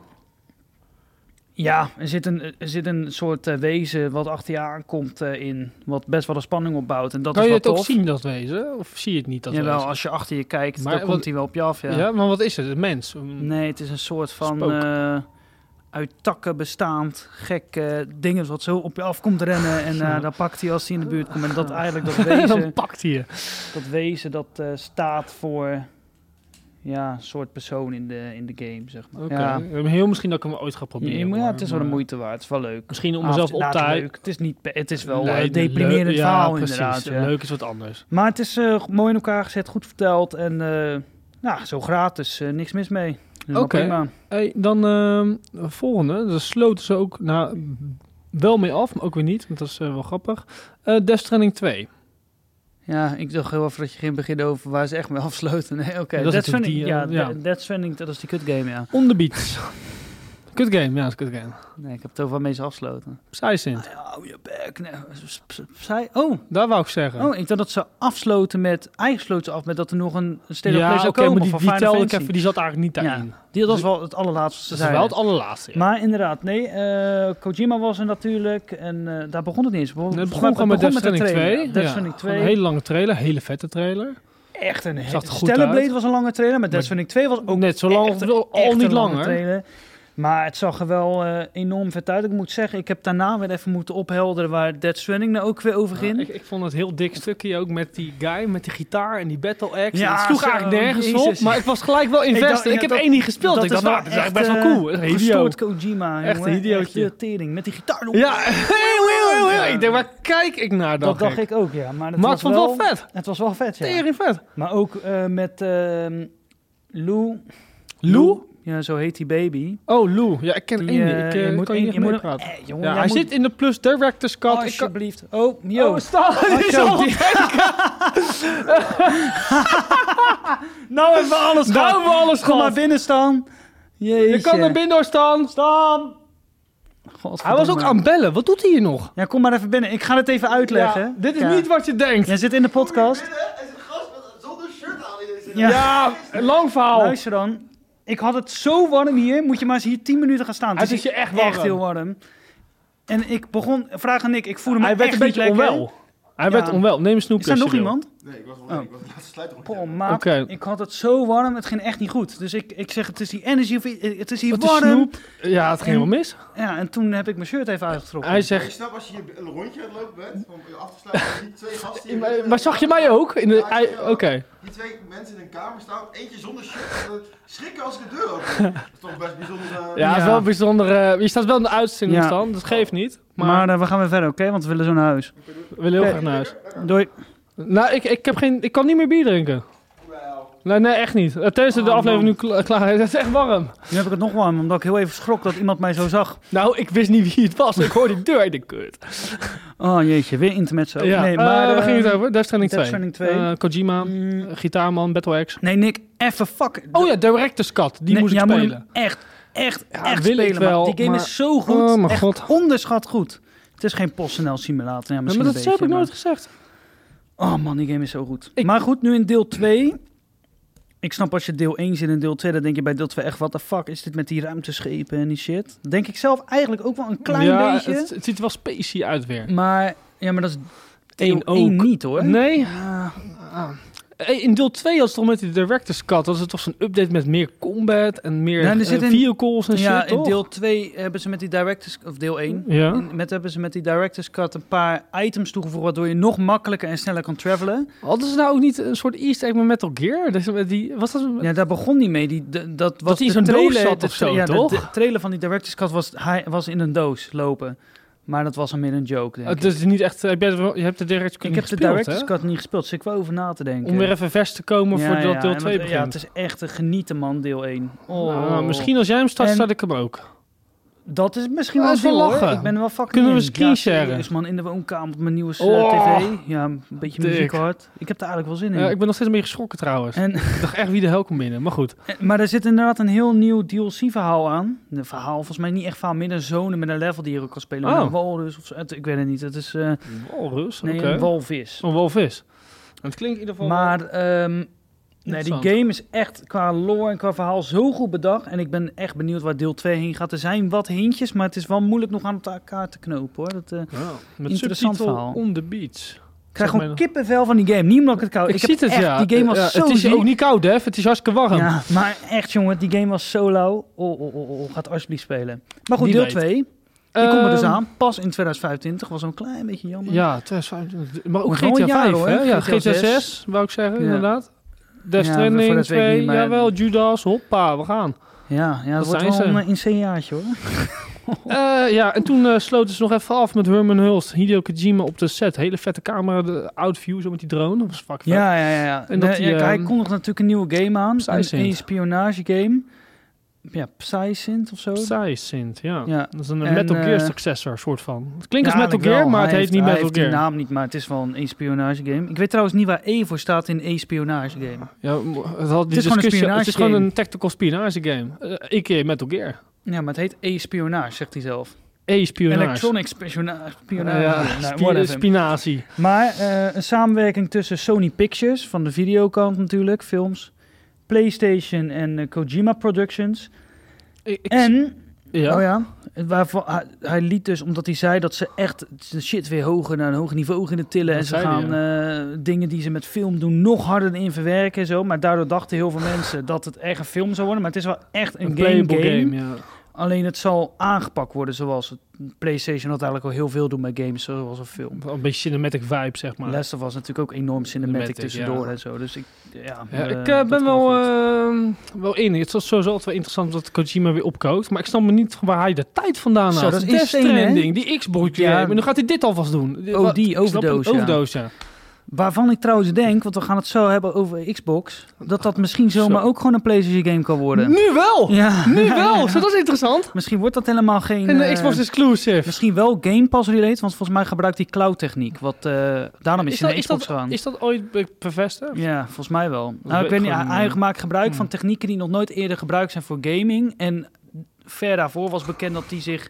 Speaker 1: ja, er zit een, er zit een soort eh, wezen wat achter je aankomt eh, in. Wat best wel een spanning opbouwt. En dat
Speaker 2: kan
Speaker 1: is
Speaker 2: je
Speaker 1: wel
Speaker 2: het ook
Speaker 1: tof.
Speaker 2: zien, dat wezen? Of zie je het niet, dat
Speaker 1: Jawel,
Speaker 2: wezen?
Speaker 1: als je achter je kijkt,
Speaker 2: Maar
Speaker 1: dan
Speaker 2: wat-
Speaker 1: komt hij wel op je af. Ja.
Speaker 2: Ja. maar wat is het? Een mens? Een-
Speaker 1: Nee, het is een soort van
Speaker 2: Spook.
Speaker 1: eh, uit takken bestaand gek eh, ding is wat zo op je af komt rennen. En eh, dan pakt hij als hij in de buurt komt. En
Speaker 2: [LAUGHS]
Speaker 1: dat eigenlijk dat
Speaker 2: dan
Speaker 1: wezen,
Speaker 2: [LAUGHS] pakt hij je.
Speaker 1: dat, wezen, dat eh, staat voor ja, een soort persoon in de, in de game, zeg maar.
Speaker 2: Oké.
Speaker 1: Ja.
Speaker 2: Heel misschien dat ik hem ooit ga proberen.
Speaker 1: Ja, maar ja,
Speaker 2: hoor,
Speaker 1: het is wel de
Speaker 2: maar- eh,
Speaker 1: moeite waard. Het is wel leuk.
Speaker 2: Misschien om
Speaker 1: Ah,
Speaker 2: mezelf
Speaker 1: het-
Speaker 2: op
Speaker 1: nou,
Speaker 2: te
Speaker 1: het is
Speaker 2: hou-
Speaker 1: leuk. Het is, niet, pe- het is wel
Speaker 2: Nee,
Speaker 1: een deprimerend
Speaker 2: leuk- ja,
Speaker 1: verhaal
Speaker 2: precies.
Speaker 1: inderdaad. ja.
Speaker 2: Leuk is wat anders.
Speaker 1: Maar het is eh, mooi in elkaar gezet, goed verteld en eh, nou, zo gratis, eh, niks mis mee. Helemaal
Speaker 2: Oké.
Speaker 1: prima.
Speaker 2: Hey, dan ehm, de volgende. Daar sloten ze ook nou, wel mee af, maar ook weer niet. Want dat is eh, wel grappig. Eh Death Stranding 2.
Speaker 1: Ja, ik dacht heel even dat je ging beginnen over waar ze echt mee afsloten. Nee, oké.
Speaker 2: Ja,
Speaker 1: dat Death
Speaker 2: dat is natuurlijk
Speaker 1: Stranding,
Speaker 2: die,
Speaker 1: ja,
Speaker 2: eh, ja.
Speaker 1: de- Death Stranding, dat is die kutgame, ja.
Speaker 2: On the Beats.
Speaker 1: [LAUGHS]
Speaker 2: Kut game, ja, dat is kut game.
Speaker 1: Nee, ik heb het over waarmee ze afsloten.
Speaker 2: Psysint.
Speaker 1: Hou je bek, nee. s- s- zij- Oh,
Speaker 2: Daar wou ik zeggen.
Speaker 1: oh, ik dacht dat ze afsloten met, eigenlijk sloot ze af met dat er nog een State of Play
Speaker 2: ja,
Speaker 1: zou
Speaker 2: oké,
Speaker 1: komen
Speaker 2: maar die,
Speaker 1: van
Speaker 2: die
Speaker 1: Final
Speaker 2: telde ik
Speaker 1: Fantasy.
Speaker 2: even. Die zat eigenlijk niet
Speaker 1: Ja.
Speaker 2: daarin.
Speaker 1: Die, dat was wel het allerlaatste
Speaker 2: Dat is
Speaker 1: zeiden.
Speaker 2: wel het allerlaatste. ja.
Speaker 1: Maar inderdaad, nee, eh, Kojima was er natuurlijk en eh, daar begon het niet eens. Begon-
Speaker 2: Nee, het
Speaker 1: volgens
Speaker 2: begon
Speaker 1: mij-
Speaker 2: gewoon met
Speaker 1: het
Speaker 2: Death Stranding
Speaker 1: begon
Speaker 2: 2.
Speaker 1: met de trailer. Death
Speaker 2: Ja,
Speaker 1: Stranding
Speaker 2: gewoon
Speaker 1: 2.
Speaker 2: Een hele lange trailer, hele vette trailer.
Speaker 1: Echt een hele...
Speaker 2: Zag er goed
Speaker 1: Stellenblade
Speaker 2: uit.
Speaker 1: was een lange trailer, maar Death Stranding 2 was ook
Speaker 2: Net zo lang,
Speaker 1: echt,
Speaker 2: of al
Speaker 1: echt
Speaker 2: niet
Speaker 1: een lange
Speaker 2: langer.
Speaker 1: trailer. Maar het zag er wel eh, enorm vet uit. Ik moet zeggen, ik heb daarna weer even moeten ophelderen waar Death Stranding nou ook weer over
Speaker 2: Ja,
Speaker 1: ging.
Speaker 2: ik, ik vond het heel dik stukje ook met die guy, met die gitaar en die battle axe.
Speaker 1: Ja,
Speaker 2: Ja, het sloeg
Speaker 1: zo,
Speaker 2: eigenlijk nergens op,
Speaker 1: Jezus.
Speaker 2: maar ik was gelijk wel
Speaker 1: dacht,
Speaker 2: invested. Ik,
Speaker 1: ja,
Speaker 2: heb
Speaker 1: dat-
Speaker 2: één niet gespeeld. ik dacht, nou, dat is echt best wel
Speaker 1: eh,
Speaker 2: cool. Een
Speaker 1: Gestoord Kojima,
Speaker 2: Echt
Speaker 1: jongen.
Speaker 2: een idiootje.
Speaker 1: Echt, eh, tering, met die gitaar.
Speaker 2: Ja, [LAUGHS] heel, heel, heel, heel. Ik denk, waar kijk ik naar
Speaker 1: dat
Speaker 2: dacht,
Speaker 1: dacht
Speaker 2: ik.
Speaker 1: ik ook, ja. Maar het
Speaker 2: Maar ik
Speaker 1: was
Speaker 2: vond het
Speaker 1: wel,
Speaker 2: wel vet.
Speaker 1: het was wel vet, ja.
Speaker 2: Tering vet.
Speaker 1: Maar ook eh, met ehm, Lou.
Speaker 2: Lou?
Speaker 1: Ja, zo heet die baby.
Speaker 2: Oh, Lou. Ja, ik ken
Speaker 1: Die,
Speaker 2: één niet.
Speaker 1: eh,
Speaker 2: Ik eh,
Speaker 1: je moet
Speaker 2: kan
Speaker 1: één-
Speaker 2: je niet
Speaker 1: je moet
Speaker 2: mee
Speaker 1: hem-
Speaker 2: praten.
Speaker 1: Eh, jongen,
Speaker 2: Ja,
Speaker 1: jij
Speaker 2: hij
Speaker 1: moet- Oh,
Speaker 2: zit in de plus director's cut. Ik kan-
Speaker 1: Alsjeblieft. Oh, yo.
Speaker 2: Oh, Stan, die [LAUGHS] is
Speaker 1: zo,
Speaker 2: al
Speaker 1: die- nou hebben we alles
Speaker 2: Nou hebben we alles
Speaker 1: Kom maar
Speaker 2: gehad.
Speaker 1: binnen, Stan. Jeetje.
Speaker 2: Je kan naar binnen hoor, Stan. Stan. Hij was ook aan het bellen. Wat doet hij hier nog?
Speaker 1: Ja, kom maar even binnen. Ik ga het even uitleggen.
Speaker 2: Ja, dit is
Speaker 1: Ja.
Speaker 2: niet wat je denkt.
Speaker 1: Jij zit in de podcast.
Speaker 3: binnen en zit een gast met, zonder shirt aan in deze
Speaker 1: Ja.
Speaker 2: Ja, een lang verhaal.
Speaker 1: Luister dan. Ik had het zo warm hier. Moet je maar eens hier 10 minuten gaan staan.
Speaker 2: Hij
Speaker 1: Het is
Speaker 2: is je echt warm.
Speaker 1: echt heel warm. En ik begon... Vraag aan Nick. Ik voelde me
Speaker 2: Hij werd
Speaker 1: echt
Speaker 2: een beetje
Speaker 1: niet lekker.
Speaker 2: onwel. Hij
Speaker 1: Ja.
Speaker 2: werd onwel. Neem een snoepje.
Speaker 1: Is er nog
Speaker 2: als je wil.
Speaker 1: iemand?
Speaker 3: Nee, ik was wel
Speaker 1: Oh.
Speaker 3: ik was de laatste sluiter op.
Speaker 1: Paul, maat,
Speaker 2: Oké.
Speaker 1: ik had het zo warm, het ging echt niet goed. Dus ik, ik zeg, het is die energy, eh, het is hier
Speaker 2: Wat is
Speaker 1: warm.
Speaker 2: snoep? Ja, het ging
Speaker 1: En-
Speaker 2: helemaal mis.
Speaker 1: Ja, en toen heb ik mijn shirt even uitgetrokken.
Speaker 2: Hij
Speaker 3: Maar ik
Speaker 2: zegt...
Speaker 3: snap als je hier een rondje aan het lopen bent, om je af te sluiten, die twee gasten hier
Speaker 2: [LAUGHS]
Speaker 3: binnen-
Speaker 2: Maar zag je mij ook? In de...
Speaker 3: Ja,
Speaker 2: hij-
Speaker 3: ik zie
Speaker 2: Oké.
Speaker 3: jou. Die twee mensen in een kamer staan, eentje zonder shirt, en dan schrikken als ik de deur open.
Speaker 2: [LAUGHS]
Speaker 3: doe. Dat is toch best bijzonder. eh,
Speaker 2: Ja, het is
Speaker 1: Ja.
Speaker 2: wel bijzonder. eh, je staat wel in de uitzending,
Speaker 1: Ja.
Speaker 2: Stan. Dat geeft niet.
Speaker 1: maar
Speaker 2: Maar,
Speaker 1: eh, we gaan weer verder, oké? Want we willen zo naar huis.
Speaker 2: we willen heel
Speaker 1: Oké.
Speaker 2: graag naar huis.
Speaker 1: Doei.
Speaker 2: Nou, ik, ik, heb geen, ik kan niet meer bier drinken.
Speaker 3: Wel,
Speaker 2: Nee, nee echt niet. Eh, Tenzij de
Speaker 1: Oh,
Speaker 2: aflevering
Speaker 1: man.
Speaker 2: nu kla- klaar is. Het is echt warm.
Speaker 1: Nu heb ik het nog warm, omdat ik heel even schrok dat iemand mij zo zag.
Speaker 2: Nou, ik wist niet wie het was. Ik hoorde die deur. Ik dacht, kut.
Speaker 1: Oh jeetje, weer intermezzo.
Speaker 2: Ja,
Speaker 1: nee, maar,
Speaker 2: nee, waar
Speaker 1: eh,
Speaker 2: ging het over? Death Stranding 2.
Speaker 1: Death Stranding 2.
Speaker 2: Eh, Kojima,
Speaker 1: mm,
Speaker 2: Gitaarman, Battle Axe.
Speaker 1: nee, Nick, even fuck.
Speaker 2: Oh ja, Director's Cut. Die
Speaker 1: Nee,
Speaker 2: moest ik
Speaker 1: jij moet hem
Speaker 2: spelen.
Speaker 1: echt, echt,
Speaker 2: Ja,
Speaker 1: echt
Speaker 2: wil ik
Speaker 1: spelen. man.
Speaker 2: wel,
Speaker 1: die game
Speaker 2: maar-
Speaker 1: is zo goed.
Speaker 2: Oh, mijn
Speaker 1: echt
Speaker 2: god.
Speaker 1: onderschat goed. Het is geen PostNL simulator. Ja,
Speaker 2: Ja,
Speaker 1: misschien
Speaker 2: maar dat
Speaker 1: een beetje,
Speaker 2: heb ik
Speaker 1: maar-
Speaker 2: nooit gezegd.
Speaker 1: Oh man, die game is zo goed.
Speaker 2: Ik-
Speaker 1: Maar goed, nu in deel 2. Ik snap als je deel 1 zit en deel 2, dan denk je bij deel 2 echt, wat de fuck is dit met die ruimteschepen en die shit. Denk ik zelf eigenlijk ook wel een klein
Speaker 2: ja,
Speaker 1: beetje.
Speaker 2: Het, het ziet er wel specie uit weer.
Speaker 1: Maar ja, maar dat is deel
Speaker 2: Eén ook.
Speaker 1: 1 niet hoor. Ah,
Speaker 2: Nee.
Speaker 1: Ja.
Speaker 2: Hey, in deel 2 was het toch met die Director's Cut, was het toch zo'n update met meer combat en meer
Speaker 1: Ja, er
Speaker 2: eh,
Speaker 1: zit in-
Speaker 2: vehicles en
Speaker 1: ja,
Speaker 2: shit,
Speaker 1: in
Speaker 2: toch?
Speaker 1: deel 2 hebben ze met die directors, of deel 1,
Speaker 2: Ja.
Speaker 1: met, hebben ze met die directors cut een paar items toegevoegd, waardoor je nog makkelijker en sneller kan travelen.
Speaker 2: Hadden ze nou ook niet een soort easter egg met Metal Gear? Dat is met die, was dat...
Speaker 1: Ja, daar begon niet mee. Die, de- dat was
Speaker 2: hij in
Speaker 1: de
Speaker 2: zo'n doos
Speaker 1: trailer-
Speaker 2: zat
Speaker 1: de
Speaker 2: of zo,
Speaker 1: tra- ja, de-
Speaker 2: toch?
Speaker 1: De, trailer van die director's cut was, hij was in een doos lopen. Maar dat was hem in een joke, denk
Speaker 2: het
Speaker 1: ik.
Speaker 2: is niet echt... Heb jij het wel- je hebt de Director's Cut
Speaker 1: Ik
Speaker 2: niet
Speaker 1: heb de
Speaker 2: gespeeld,
Speaker 1: director's
Speaker 2: hè?
Speaker 1: cut niet gespeeld, dus ik wil over na te denken.
Speaker 2: Om weer even vers te komen
Speaker 1: Ja,
Speaker 2: voordat
Speaker 1: ja,
Speaker 2: deel
Speaker 1: en
Speaker 2: 2
Speaker 1: want-
Speaker 2: begint.
Speaker 1: Ja, het is echt een genieten, man, deel 1. Oh.
Speaker 2: Nou, nou, misschien als jij hem start,
Speaker 1: En-
Speaker 2: start ik hem ook.
Speaker 1: Dat is misschien
Speaker 2: Dat
Speaker 1: wel
Speaker 2: is wel
Speaker 1: veel, hoor.
Speaker 2: lachen.
Speaker 1: Ik ben er wel fucking
Speaker 2: Kunnen we
Speaker 1: in.
Speaker 2: een screen
Speaker 1: Ja,
Speaker 2: sharen?
Speaker 1: serieus, man, in de woonkamer op mijn nieuwe eh,
Speaker 2: Oh,
Speaker 1: tv. Ja, een beetje
Speaker 2: dik.
Speaker 1: muziek hard. Ik heb daar eigenlijk wel zin in.
Speaker 2: Ja, Eh, ik ben nog steeds een beetje geschrokken trouwens.
Speaker 1: En,
Speaker 2: Ik dacht echt wie de hel komt binnen, maar goed.
Speaker 1: en- maar er zit inderdaad een heel nieuw DLC-verhaal aan. Een verhaal, volgens mij niet echt verhaal, meer een zone met een level die je ook kan spelen. Met
Speaker 2: Oh.
Speaker 1: een walrus of zo. Het- Ik weet het niet. Het is eh,
Speaker 2: Walrus,
Speaker 1: nee,
Speaker 2: oké.
Speaker 1: een walvis.
Speaker 2: Een walvis. Het klinkt in ieder geval...
Speaker 1: Maar ehm, nee, die
Speaker 2: Interessant.
Speaker 1: game is echt qua lore en qua verhaal zo goed bedacht. En ik ben echt benieuwd waar deel 2 heen gaat. Er zijn wat hintjes, maar het is wel moeilijk nog aan elkaar te knopen hoor. Dat, eh,
Speaker 2: Ja, met
Speaker 1: Interessant
Speaker 2: subtitel
Speaker 1: verhaal.
Speaker 2: On the Beach.
Speaker 1: ik krijg
Speaker 2: Zeg
Speaker 1: gewoon
Speaker 2: maar-
Speaker 1: kippenvel van die game. Niet omdat ik het koud
Speaker 2: Oh, Ik,
Speaker 1: heb
Speaker 2: zie het,
Speaker 1: echt-
Speaker 2: ja.
Speaker 1: Die game was
Speaker 2: Ja,
Speaker 1: zo
Speaker 2: Het is
Speaker 1: ziek.
Speaker 2: ook niet koud, hè? Het is hartstikke warm.
Speaker 1: Ja, maar echt jongen, die game was zo lauw. Oh, oh, oh, oh, gaat alsjeblieft spelen. Maar goed,
Speaker 2: Wie
Speaker 1: deel
Speaker 2: weet.
Speaker 1: 2, die komt er dus
Speaker 2: Ehm,
Speaker 1: aan. Pas in 2025, was een klein beetje jammer.
Speaker 2: Ja, 2025. Maar ook
Speaker 1: Maar gewoon
Speaker 2: GTA
Speaker 1: een jaar,
Speaker 2: 5,
Speaker 1: hoor.
Speaker 2: hè? Ja,
Speaker 1: GTA
Speaker 2: GTA 6,
Speaker 1: zes,
Speaker 2: wou ik zeggen,
Speaker 1: Ja.
Speaker 2: inderdaad. Death
Speaker 1: Ja, voor
Speaker 2: Stranding
Speaker 1: dat weet ik
Speaker 2: 2,
Speaker 1: niet, maar-
Speaker 2: jawel, Judas, hoppa, we gaan.
Speaker 1: ja, ja dat,
Speaker 2: Dat
Speaker 1: wordt
Speaker 2: zijn
Speaker 1: wel
Speaker 2: ze.
Speaker 1: een eh, insane jaartje hoor.
Speaker 2: Eh, ja, en toen eh, sloten ze nog even af met Herman Hulst, Hideo Kojima op de set. Hele vette camera, de outview zo met die drone. Dat was fuck vet.
Speaker 1: Ja, ja, ja. ja.
Speaker 2: En dat
Speaker 1: Nee,
Speaker 2: die,
Speaker 1: ja, hij
Speaker 2: ehm,
Speaker 1: kondigt natuurlijk een nieuwe game aan.
Speaker 2: Psysynth.
Speaker 1: Een, een spionagegame. Ja, Psysynth of zo.
Speaker 2: Psysynth, ja.
Speaker 1: Ja.
Speaker 2: Dat is een
Speaker 1: En,
Speaker 2: Metal Gear
Speaker 1: eh,
Speaker 2: successor, soort van. Het klinkt
Speaker 1: Ja,
Speaker 2: als Metal
Speaker 1: eigenlijk
Speaker 2: Gear,
Speaker 1: wel.
Speaker 2: maar het
Speaker 1: Hij
Speaker 2: heet niet
Speaker 1: hij
Speaker 2: Metal
Speaker 1: heeft die
Speaker 2: Gear.
Speaker 1: naam niet, maar het is wel een espionagegame. Ik weet trouwens niet waar E voor staat in espionagegame.
Speaker 2: Ja, m- het, had die
Speaker 1: is gewoon een
Speaker 2: discussie, het is gewoon
Speaker 1: spionage
Speaker 2: een tactical spionage game. Eh, Ik keer Metal Gear.
Speaker 1: Ja, maar het heet e-spionage, zegt hij zelf.
Speaker 2: E-spionage.
Speaker 1: Electronic spiona- spionage.
Speaker 2: Ja,
Speaker 1: Nou,
Speaker 2: spi-
Speaker 1: whatever.
Speaker 2: spinazie.
Speaker 1: maar eh, een samenwerking tussen Sony Pictures, van de videokant natuurlijk, films, PlayStation en eh, Kojima Productions.
Speaker 2: Ik- ik-
Speaker 1: En
Speaker 2: ja.
Speaker 1: Oh ja, waarvan, hij, hij liet dus, omdat hij zei dat ze echt de shit weer hoger naar een hoger niveau gingen tillen.
Speaker 2: Dat
Speaker 1: en ze
Speaker 2: zei
Speaker 1: gaan
Speaker 2: hij,
Speaker 1: eh, dingen die ze met film doen nog harder in verwerken en zo. Maar daardoor dachten heel veel mensen dat het echt een film zou worden. Maar het is wel echt een, game,
Speaker 2: playable
Speaker 1: game.
Speaker 2: ja.
Speaker 1: Alleen het zal aangepakt worden zoals het PlayStation dat eigenlijk al heel veel doet met games, zoals een film.
Speaker 2: Wel Een beetje cinematic vibe, zeg maar.
Speaker 1: Last of Us natuurlijk ook enorm cinematic,
Speaker 2: Cinematic,
Speaker 1: tussendoor
Speaker 2: ja.
Speaker 1: en zo. Dus ik, ja,
Speaker 2: Ja,
Speaker 1: eh,
Speaker 2: ik eh,
Speaker 1: dat
Speaker 2: ben
Speaker 1: komt
Speaker 2: wel,
Speaker 1: goed.
Speaker 2: eh, wel in. Het is sowieso altijd wel interessant dat Kojima weer opkookt. Maar ik snap me niet waar hij de tijd vandaan
Speaker 1: Zo,
Speaker 2: had.
Speaker 1: dat is
Speaker 2: Death
Speaker 1: insane, hè?
Speaker 2: Stranding, die Xbox game.
Speaker 1: Ja.
Speaker 2: En nu gaat hij dit alvast doen. Dit-
Speaker 1: Oh,
Speaker 2: eh, wat-
Speaker 1: die
Speaker 2: ik snap het,
Speaker 1: overdose, ja.
Speaker 2: overdose, ja.
Speaker 1: Waarvan ik trouwens denk, want we gaan het zo hebben over Xbox, dat dat misschien zomaar
Speaker 2: Zo.
Speaker 1: ook gewoon een PlayStation game kan worden.
Speaker 2: Nu wel!
Speaker 1: [LAUGHS] Ja.
Speaker 2: Nu wel! Zo, dat is interessant.
Speaker 1: Misschien wordt dat helemaal geen...
Speaker 2: En de
Speaker 1: eh,
Speaker 2: Xbox exclusive.
Speaker 1: Misschien wel Game Pass related, want volgens mij gebruikt die cloud techniek. Wat, eh, daarom is,
Speaker 2: Is
Speaker 1: hij
Speaker 2: dat-
Speaker 1: naar
Speaker 2: is
Speaker 1: Xbox gegaan.
Speaker 2: Is dat ooit be- bevestigd?
Speaker 1: Ja, volgens mij wel.
Speaker 2: weet
Speaker 1: Nou, ik weet niet,
Speaker 2: gewoon
Speaker 1: hij hij
Speaker 2: niet.
Speaker 1: maakt gebruik van
Speaker 2: Hmm.
Speaker 1: technieken die nog nooit eerder gebruikt zijn voor gaming. En ver daarvoor was bekend dat hij zich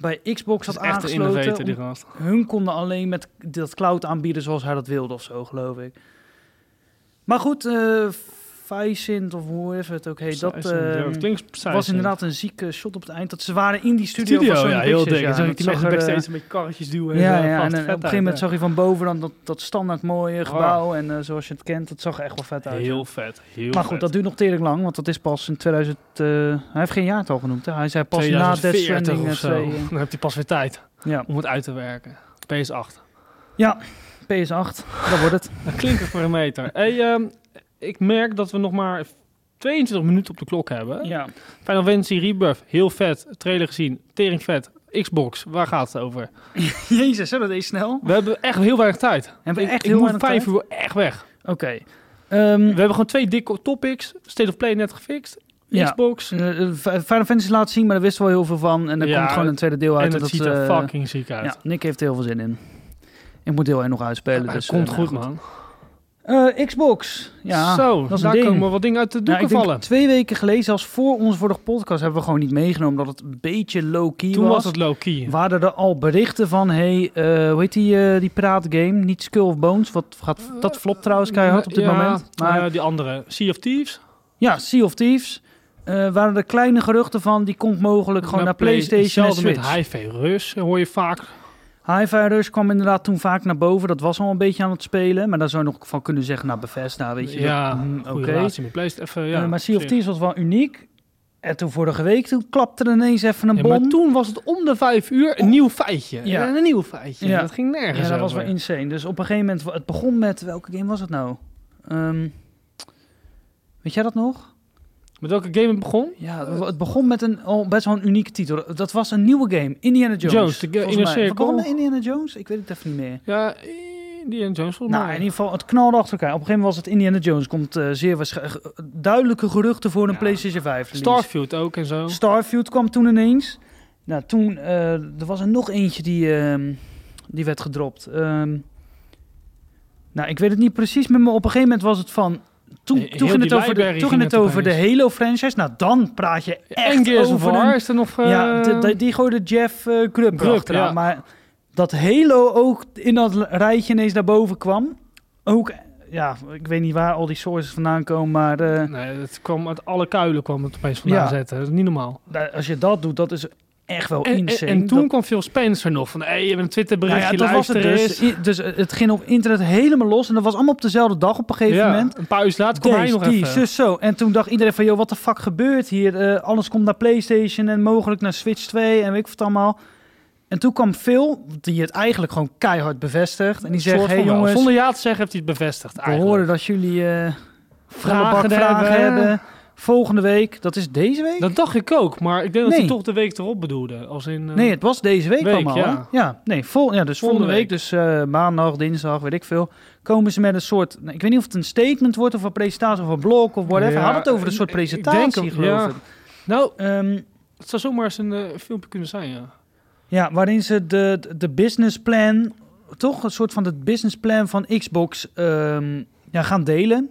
Speaker 1: bij Xbox
Speaker 2: Dat
Speaker 1: had
Speaker 2: is echt een
Speaker 1: aangesloten.
Speaker 2: innovator, die gast.
Speaker 1: om- Hun konden alleen met dat cloud aanbieden zoals hij dat wilde of zo, geloof ik. Maar goed, eh Vicent of hoe even het ook heet, dat...
Speaker 2: Psycent, ja,
Speaker 1: ehm,
Speaker 2: dat klinkt psycent.
Speaker 1: was inderdaad een zieke shot op het eind. Dat ze waren in die studio.
Speaker 2: studio,
Speaker 1: van Sony
Speaker 2: ja, heel
Speaker 1: Pictures,
Speaker 2: dik. Dan zag
Speaker 1: dat
Speaker 2: ik die mensen
Speaker 1: er,
Speaker 2: backstage
Speaker 1: eh,
Speaker 2: een beetje karretjes duwen.
Speaker 1: Ja,
Speaker 2: en,
Speaker 1: ja,
Speaker 2: eh,
Speaker 1: en
Speaker 2: vast
Speaker 1: eh, op een
Speaker 2: vet
Speaker 1: gegeven
Speaker 2: uit,
Speaker 1: moment
Speaker 2: ja.
Speaker 1: zag je van boven dan dat, dat standaard mooie gebouw. En eh, zoals je het kent, dat zag er echt wel vet uit.
Speaker 2: Heel vet, heel
Speaker 1: maar goed,
Speaker 2: vet.
Speaker 1: dat duurt nog tering lang, want dat is pas in 2000... eh, hij heeft geen jaartal genoemd, hè? Hij zei pas na Death
Speaker 2: 2040
Speaker 1: Stranding
Speaker 2: of
Speaker 1: eh,
Speaker 2: zo.
Speaker 1: twee, eh,
Speaker 2: Dan heb je pas weer tijd
Speaker 1: ja.
Speaker 2: om het uit te werken. PS8.
Speaker 1: ja, PS8, dat wordt
Speaker 2: [LAUGHS]
Speaker 1: het.
Speaker 2: Dat klinkt er voor een meter. [LAUGHS] Hey, ehm, ik merk dat we nog maar 22 minuten op de klok hebben.
Speaker 1: Ja.
Speaker 2: Final Fantasy Rebirth, heel vet. Trailer gezien, tering vet. Xbox, waar gaat het over?
Speaker 1: Jezus, hè, dat is snel.
Speaker 2: We hebben echt heel weinig tijd.
Speaker 1: Hebben we
Speaker 2: Ik-
Speaker 1: echt
Speaker 2: ik
Speaker 1: heel
Speaker 2: moet
Speaker 1: weinig
Speaker 2: vijf
Speaker 1: tijd?
Speaker 2: uur echt weg.
Speaker 1: Oké. Ehm,
Speaker 2: We hebben gewoon twee dikke topics. State of Play net gefixt.
Speaker 1: Ja.
Speaker 2: Xbox.
Speaker 1: eh, eh, Final Fantasy laat zien, maar daar wisten we wel heel veel van. En er
Speaker 2: Ja,
Speaker 1: komt gewoon een tweede deel uit.
Speaker 2: en het
Speaker 1: dat,
Speaker 2: ziet er
Speaker 1: eh,
Speaker 2: fucking ziek uit.
Speaker 1: Ja, Nick heeft er heel veel zin in. Ik moet heel erg nog uitspelen.
Speaker 2: Het
Speaker 1: dus,
Speaker 2: komt
Speaker 1: eh,
Speaker 2: goed,
Speaker 1: nou,
Speaker 2: man.
Speaker 1: Eh, Xbox. Ja,
Speaker 2: Zo,
Speaker 1: dat is een
Speaker 2: daar
Speaker 1: ding.
Speaker 2: komen wat dingen uit de
Speaker 1: Nou,
Speaker 2: doeken
Speaker 1: ik denk
Speaker 2: vallen.
Speaker 1: twee weken geleden, zelfs voor onze vorige podcast, hebben we gewoon niet meegenomen dat het een beetje low-key was.
Speaker 2: Toen was het low-key.
Speaker 1: Waren er al berichten van, hey, eh, hoe heet die, eh, die praatgame? Niet Skull of Bones, wat gaat, dat flop trouwens keihard op dit
Speaker 2: eh, Ja,
Speaker 1: moment. Maar
Speaker 2: eh, die andere. Sea of Thieves.
Speaker 1: ja, Sea of Thieves. eh, waren er kleine geruchten van, die komt mogelijk gewoon naar
Speaker 2: Play-
Speaker 1: Playstation en
Speaker 2: Hetzelfde
Speaker 1: Switch.
Speaker 2: met HIV Rus hoor je vaak.
Speaker 1: Hi-Fi Rush kwam inderdaad toen vaak naar boven. Dat was al een beetje aan het spelen. Maar daar zou je nog van kunnen zeggen, nou Bethesda, weet je.
Speaker 2: ja,
Speaker 1: dat- mm,
Speaker 2: goede
Speaker 1: oké.
Speaker 2: relatie met PlayStation. even, Ja,
Speaker 1: Eh, maar Sea of
Speaker 2: precies.
Speaker 1: Thieves was wel uniek. En toen vorige week, toen klapte er ineens even een
Speaker 2: Ja,
Speaker 1: bom.
Speaker 2: maar toen was het om de vijf uur een nieuw feitje.
Speaker 1: Ja.
Speaker 2: Ja. Een nieuw feitje.
Speaker 1: Ja.
Speaker 2: Dat ging nergens
Speaker 1: ja, dat was wel
Speaker 2: over.
Speaker 1: insane. Dus op een gegeven moment, het begon met, welke game was het nou? Ehm, weet jij dat nog?
Speaker 2: Met welke game het begon?
Speaker 1: Ja, het- het begon met een al best wel een unieke titel. Dat was een nieuwe game, Indiana Jones.
Speaker 2: Jones, de ge-
Speaker 1: volgens
Speaker 2: Inner
Speaker 1: mij.
Speaker 2: Circle.
Speaker 1: Begon met Indiana Jones? Ik weet het even niet meer.
Speaker 2: Ja, die en Jones volgens
Speaker 1: Nou, in
Speaker 2: mij.
Speaker 1: ieder geval, het knalde achter elkaar. Op een gegeven moment was het Indiana Jones. Komt eh, zeer waarschijnlijk duidelijke geruchten voor een
Speaker 2: Ja.
Speaker 1: PlayStation 5. release.
Speaker 2: Starfield ook en zo.
Speaker 1: Starfield kwam toen ineens. Nou, toen, eh, er was er nog eentje die, ehm, die werd gedropt. Ehm, nou, ik weet het niet precies, maar op een gegeven moment was het van... Toen,
Speaker 2: Heel
Speaker 1: toen ging
Speaker 2: die
Speaker 1: het over de,
Speaker 2: library
Speaker 1: toen ging
Speaker 2: ging
Speaker 1: het
Speaker 2: het
Speaker 1: over de
Speaker 2: opeens.
Speaker 1: Halo-franchise. Nou, dan praat je echt
Speaker 2: en Gears of
Speaker 1: over
Speaker 2: War
Speaker 1: een
Speaker 2: is er nog... eh,
Speaker 1: ja, de- de- die gooide Jeff eh Grubb
Speaker 2: Grubb,
Speaker 1: achteraan.
Speaker 2: ja.
Speaker 1: Maar dat Halo ook in dat l- rijtje ineens naar boven kwam. Ook, eh, ja, ik weet niet waar al die sources vandaan komen, maar eh,
Speaker 2: Nee, het kwam uit alle kuilen kwam het opeens vandaan
Speaker 1: Ja.
Speaker 2: zetten. Dat is niet normaal.
Speaker 1: da- als je dat doet, dat is echt wel
Speaker 2: En, en,
Speaker 1: Oh, insane.
Speaker 2: en toen
Speaker 1: Dat-
Speaker 2: kwam Phil Spencer nog van, hey, je hebt een Twitter
Speaker 1: nou
Speaker 2: berichtje,
Speaker 1: ja, dat was het
Speaker 2: luister
Speaker 1: dus.
Speaker 2: eens.
Speaker 1: I- Dus eh, het ging op internet helemaal los. En dat was allemaal op dezelfde dag op een gegeven
Speaker 2: Ja,
Speaker 1: moment.
Speaker 2: een paar uur later kwam hij
Speaker 1: Deze,
Speaker 2: nog
Speaker 1: die,
Speaker 2: even.
Speaker 1: zus, zo. En toen dacht iedereen van, joh, wat de fuck gebeurt hier? Eh, alles komt naar PlayStation en mogelijk naar Switch 2 en weet ik wat allemaal. En toen kwam Phil, die het eigenlijk gewoon keihard bevestigt. En die
Speaker 2: Een
Speaker 1: zegt,
Speaker 2: soort
Speaker 1: hey
Speaker 2: van wel.
Speaker 1: jongens,
Speaker 2: Zonder ja te zeggen heeft hij het bevestigd
Speaker 1: we
Speaker 2: eigenlijk.
Speaker 1: horen dat jullie eh volle bak
Speaker 2: Vragen
Speaker 1: vragen
Speaker 2: hebben.
Speaker 1: hebben. Volgende week, dat is deze week?
Speaker 2: Dat dacht ik ook, maar ik denk dat
Speaker 1: Nee.
Speaker 2: hij toch de week erop bedoelde. Als in, eh,
Speaker 1: nee, het was deze week,
Speaker 2: Week,
Speaker 1: allemaal. hè?
Speaker 2: ja.
Speaker 1: ja nee, vol, ja, dus volgende
Speaker 2: Volgende
Speaker 1: week,
Speaker 2: week.
Speaker 1: dus eh, maandag, dinsdag, weet ik veel, komen ze met een soort, nou, ik weet niet of het een statement wordt of een presentatie of een blog of whatever.
Speaker 2: Ja,
Speaker 1: Had het over een
Speaker 2: ik-
Speaker 1: soort
Speaker 2: ik denk
Speaker 1: presentatie,
Speaker 2: ook,
Speaker 1: geloof
Speaker 2: ja.
Speaker 1: ik.
Speaker 2: Nou,
Speaker 1: Ehm,
Speaker 2: het zou zomaar eens een eh, filmpje kunnen zijn, ja.
Speaker 1: Ja, waarin ze de, de businessplan, toch een soort van het businessplan van Xbox ehm, ja, gaan delen.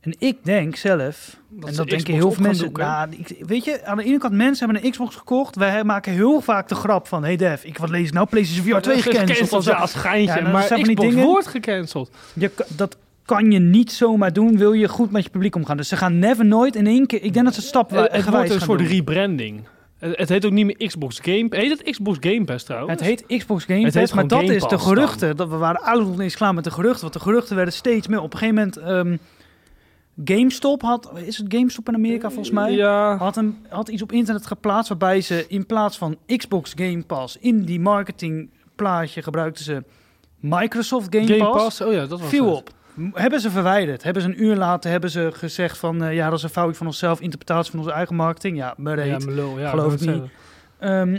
Speaker 1: En ik denk zelf,
Speaker 2: Dat
Speaker 1: en dat
Speaker 2: ze
Speaker 1: denken
Speaker 2: Xbox
Speaker 1: heel
Speaker 2: op
Speaker 1: veel
Speaker 2: gaan
Speaker 1: mensen.
Speaker 2: doeken.
Speaker 1: nou, ik- weet je, aan de ene kant mensen hebben een Xbox gekocht. Wij maken heel vaak de grap van, hey Def, ik wat lees ik nou? PlayStation VR 2
Speaker 2: Ja,
Speaker 1: gecanceld. of zo.
Speaker 2: ja, als geintje.
Speaker 1: Ja, nou,
Speaker 2: maar
Speaker 1: dat zijn van die
Speaker 2: Xbox
Speaker 1: dingen.
Speaker 2: wordt gecanceld.
Speaker 1: Je, ka- dat kan je niet zomaar doen, wil je goed met je publiek omgaan. Dus ze gaan never nooit in één keer, ik denk dat ze
Speaker 2: Eh, het
Speaker 1: stapgewijs
Speaker 2: wordt een
Speaker 1: gaan
Speaker 2: soort
Speaker 1: doen.
Speaker 2: rebranding. Het, het heet ook niet meer Xbox Game Pass. Heet het Xbox Game Pass trouwens?
Speaker 1: Het heet Xbox Game
Speaker 2: Het
Speaker 1: Pass,
Speaker 2: heet
Speaker 1: maar dat
Speaker 2: gewoon Game
Speaker 1: is de
Speaker 2: Pass
Speaker 1: geruchten. Dat we waren oud nog eens klaar met de geruchten, want de geruchten werden steeds meer. Op een gegeven moment ehm, GameStop had, is het GameStop in Amerika volgens mij?
Speaker 2: Ja,
Speaker 1: Had, een, had iets op internet geplaatst waarbij ze in plaats van Xbox Game Pass in die marketingplaatje gebruikten ze Microsoft Game,
Speaker 2: Game
Speaker 1: Pass.
Speaker 2: Pass. Oh ja, dat was
Speaker 1: Viel
Speaker 2: het.
Speaker 1: op. M- Hebben ze verwijderd? Hebben ze een uur later hebben ze gezegd van eh, ja, dat is een foutje van onszelf, interpretatie van onze eigen marketing. Ja, maar
Speaker 2: Ja, mijn lul, ja,
Speaker 1: Geloof
Speaker 2: ik
Speaker 1: ik
Speaker 2: wou het
Speaker 1: niet. Ehm,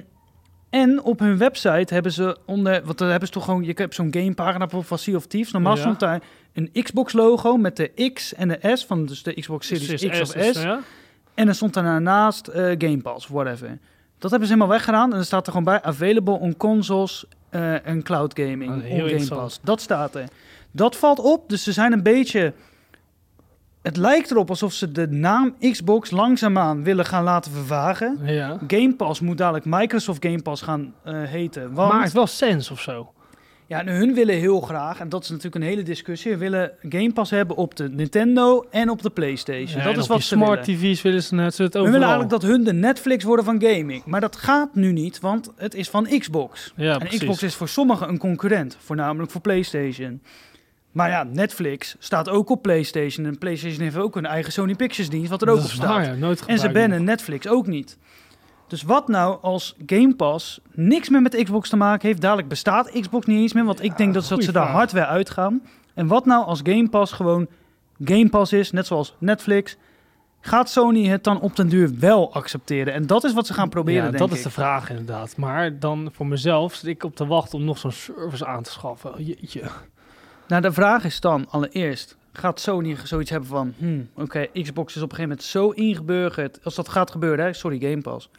Speaker 1: en op hun website hebben ze onder, want daar hebben ze toch gewoon, je hebt zo'n gamepagina voor van Sea of Thieves. Normaal
Speaker 2: Ja.
Speaker 1: stond daar een Xbox logo met de X en de S van dus de Xbox
Speaker 2: zeggen.
Speaker 1: Series
Speaker 2: Series dus
Speaker 1: X of S.
Speaker 2: is, ja.
Speaker 1: En dan stond daarnaast eh Game Pass, whatever. Dat hebben ze helemaal weggedaan en dan staat er gewoon bij available on consoles eh, en cloud gaming
Speaker 2: Ah,
Speaker 1: on
Speaker 2: heel
Speaker 1: Game
Speaker 2: interessant.
Speaker 1: Pass. Dat staat er. Dat valt op, dus ze zijn een beetje. Het lijkt erop alsof ze de naam Xbox langzaamaan willen gaan laten vervagen.
Speaker 2: ja.
Speaker 1: Game Pass moet dadelijk Microsoft Game Pass gaan eh, heten. Want
Speaker 2: Maakt wel sens of zo.
Speaker 1: ja, en hun willen heel graag, en dat is natuurlijk een hele discussie, hun willen Game Pass hebben op de Nintendo en op de PlayStation.
Speaker 2: Ja,
Speaker 1: dat
Speaker 2: en
Speaker 1: is
Speaker 2: op
Speaker 1: wat
Speaker 2: je
Speaker 1: ze
Speaker 2: smart
Speaker 1: willen.
Speaker 2: TV's willen ze net. Ze het
Speaker 1: Hun
Speaker 2: overal.
Speaker 1: willen eigenlijk dat hun de Netflix worden van gaming. Maar dat gaat nu niet, want het is van Xbox.
Speaker 2: Ja,
Speaker 1: en
Speaker 2: precies.
Speaker 1: Xbox is voor sommigen een concurrent, voornamelijk voor PlayStation. Maar ja, Netflix staat ook op PlayStation. En PlayStation heeft ook hun eigen Sony Pictures dienst, wat er ook
Speaker 2: dat
Speaker 1: op
Speaker 2: is
Speaker 1: staat.
Speaker 2: waar, ja, nooit
Speaker 1: En ze
Speaker 2: gebruikt nog.
Speaker 1: bannen Netflix ook niet. Dus wat nou als Game Pass niks meer met Xbox te maken heeft? Dadelijk bestaat Xbox niet eens meer, want ik denk dat, dat
Speaker 2: goeie
Speaker 1: ze daar
Speaker 2: vraag.
Speaker 1: hardware uitgaan. En wat nou als Game Pass gewoon Game Pass is, net zoals Netflix? Gaat Sony het dan op den duur wel accepteren? En dat is wat ze gaan proberen,
Speaker 2: Ja,
Speaker 1: denk
Speaker 2: dat
Speaker 1: ik.
Speaker 2: is de vraag inderdaad. Maar dan voor mezelf zit ik op te wachten om nog zo'n service aan te schaffen. Jeetje.
Speaker 1: Nou, de vraag is dan allereerst... Gaat Sony zoiets hebben van... Hmm, Oké, Xbox is op een gegeven moment zo ingeburgerd. Als dat gaat gebeuren, hè? Sorry, Game Pass.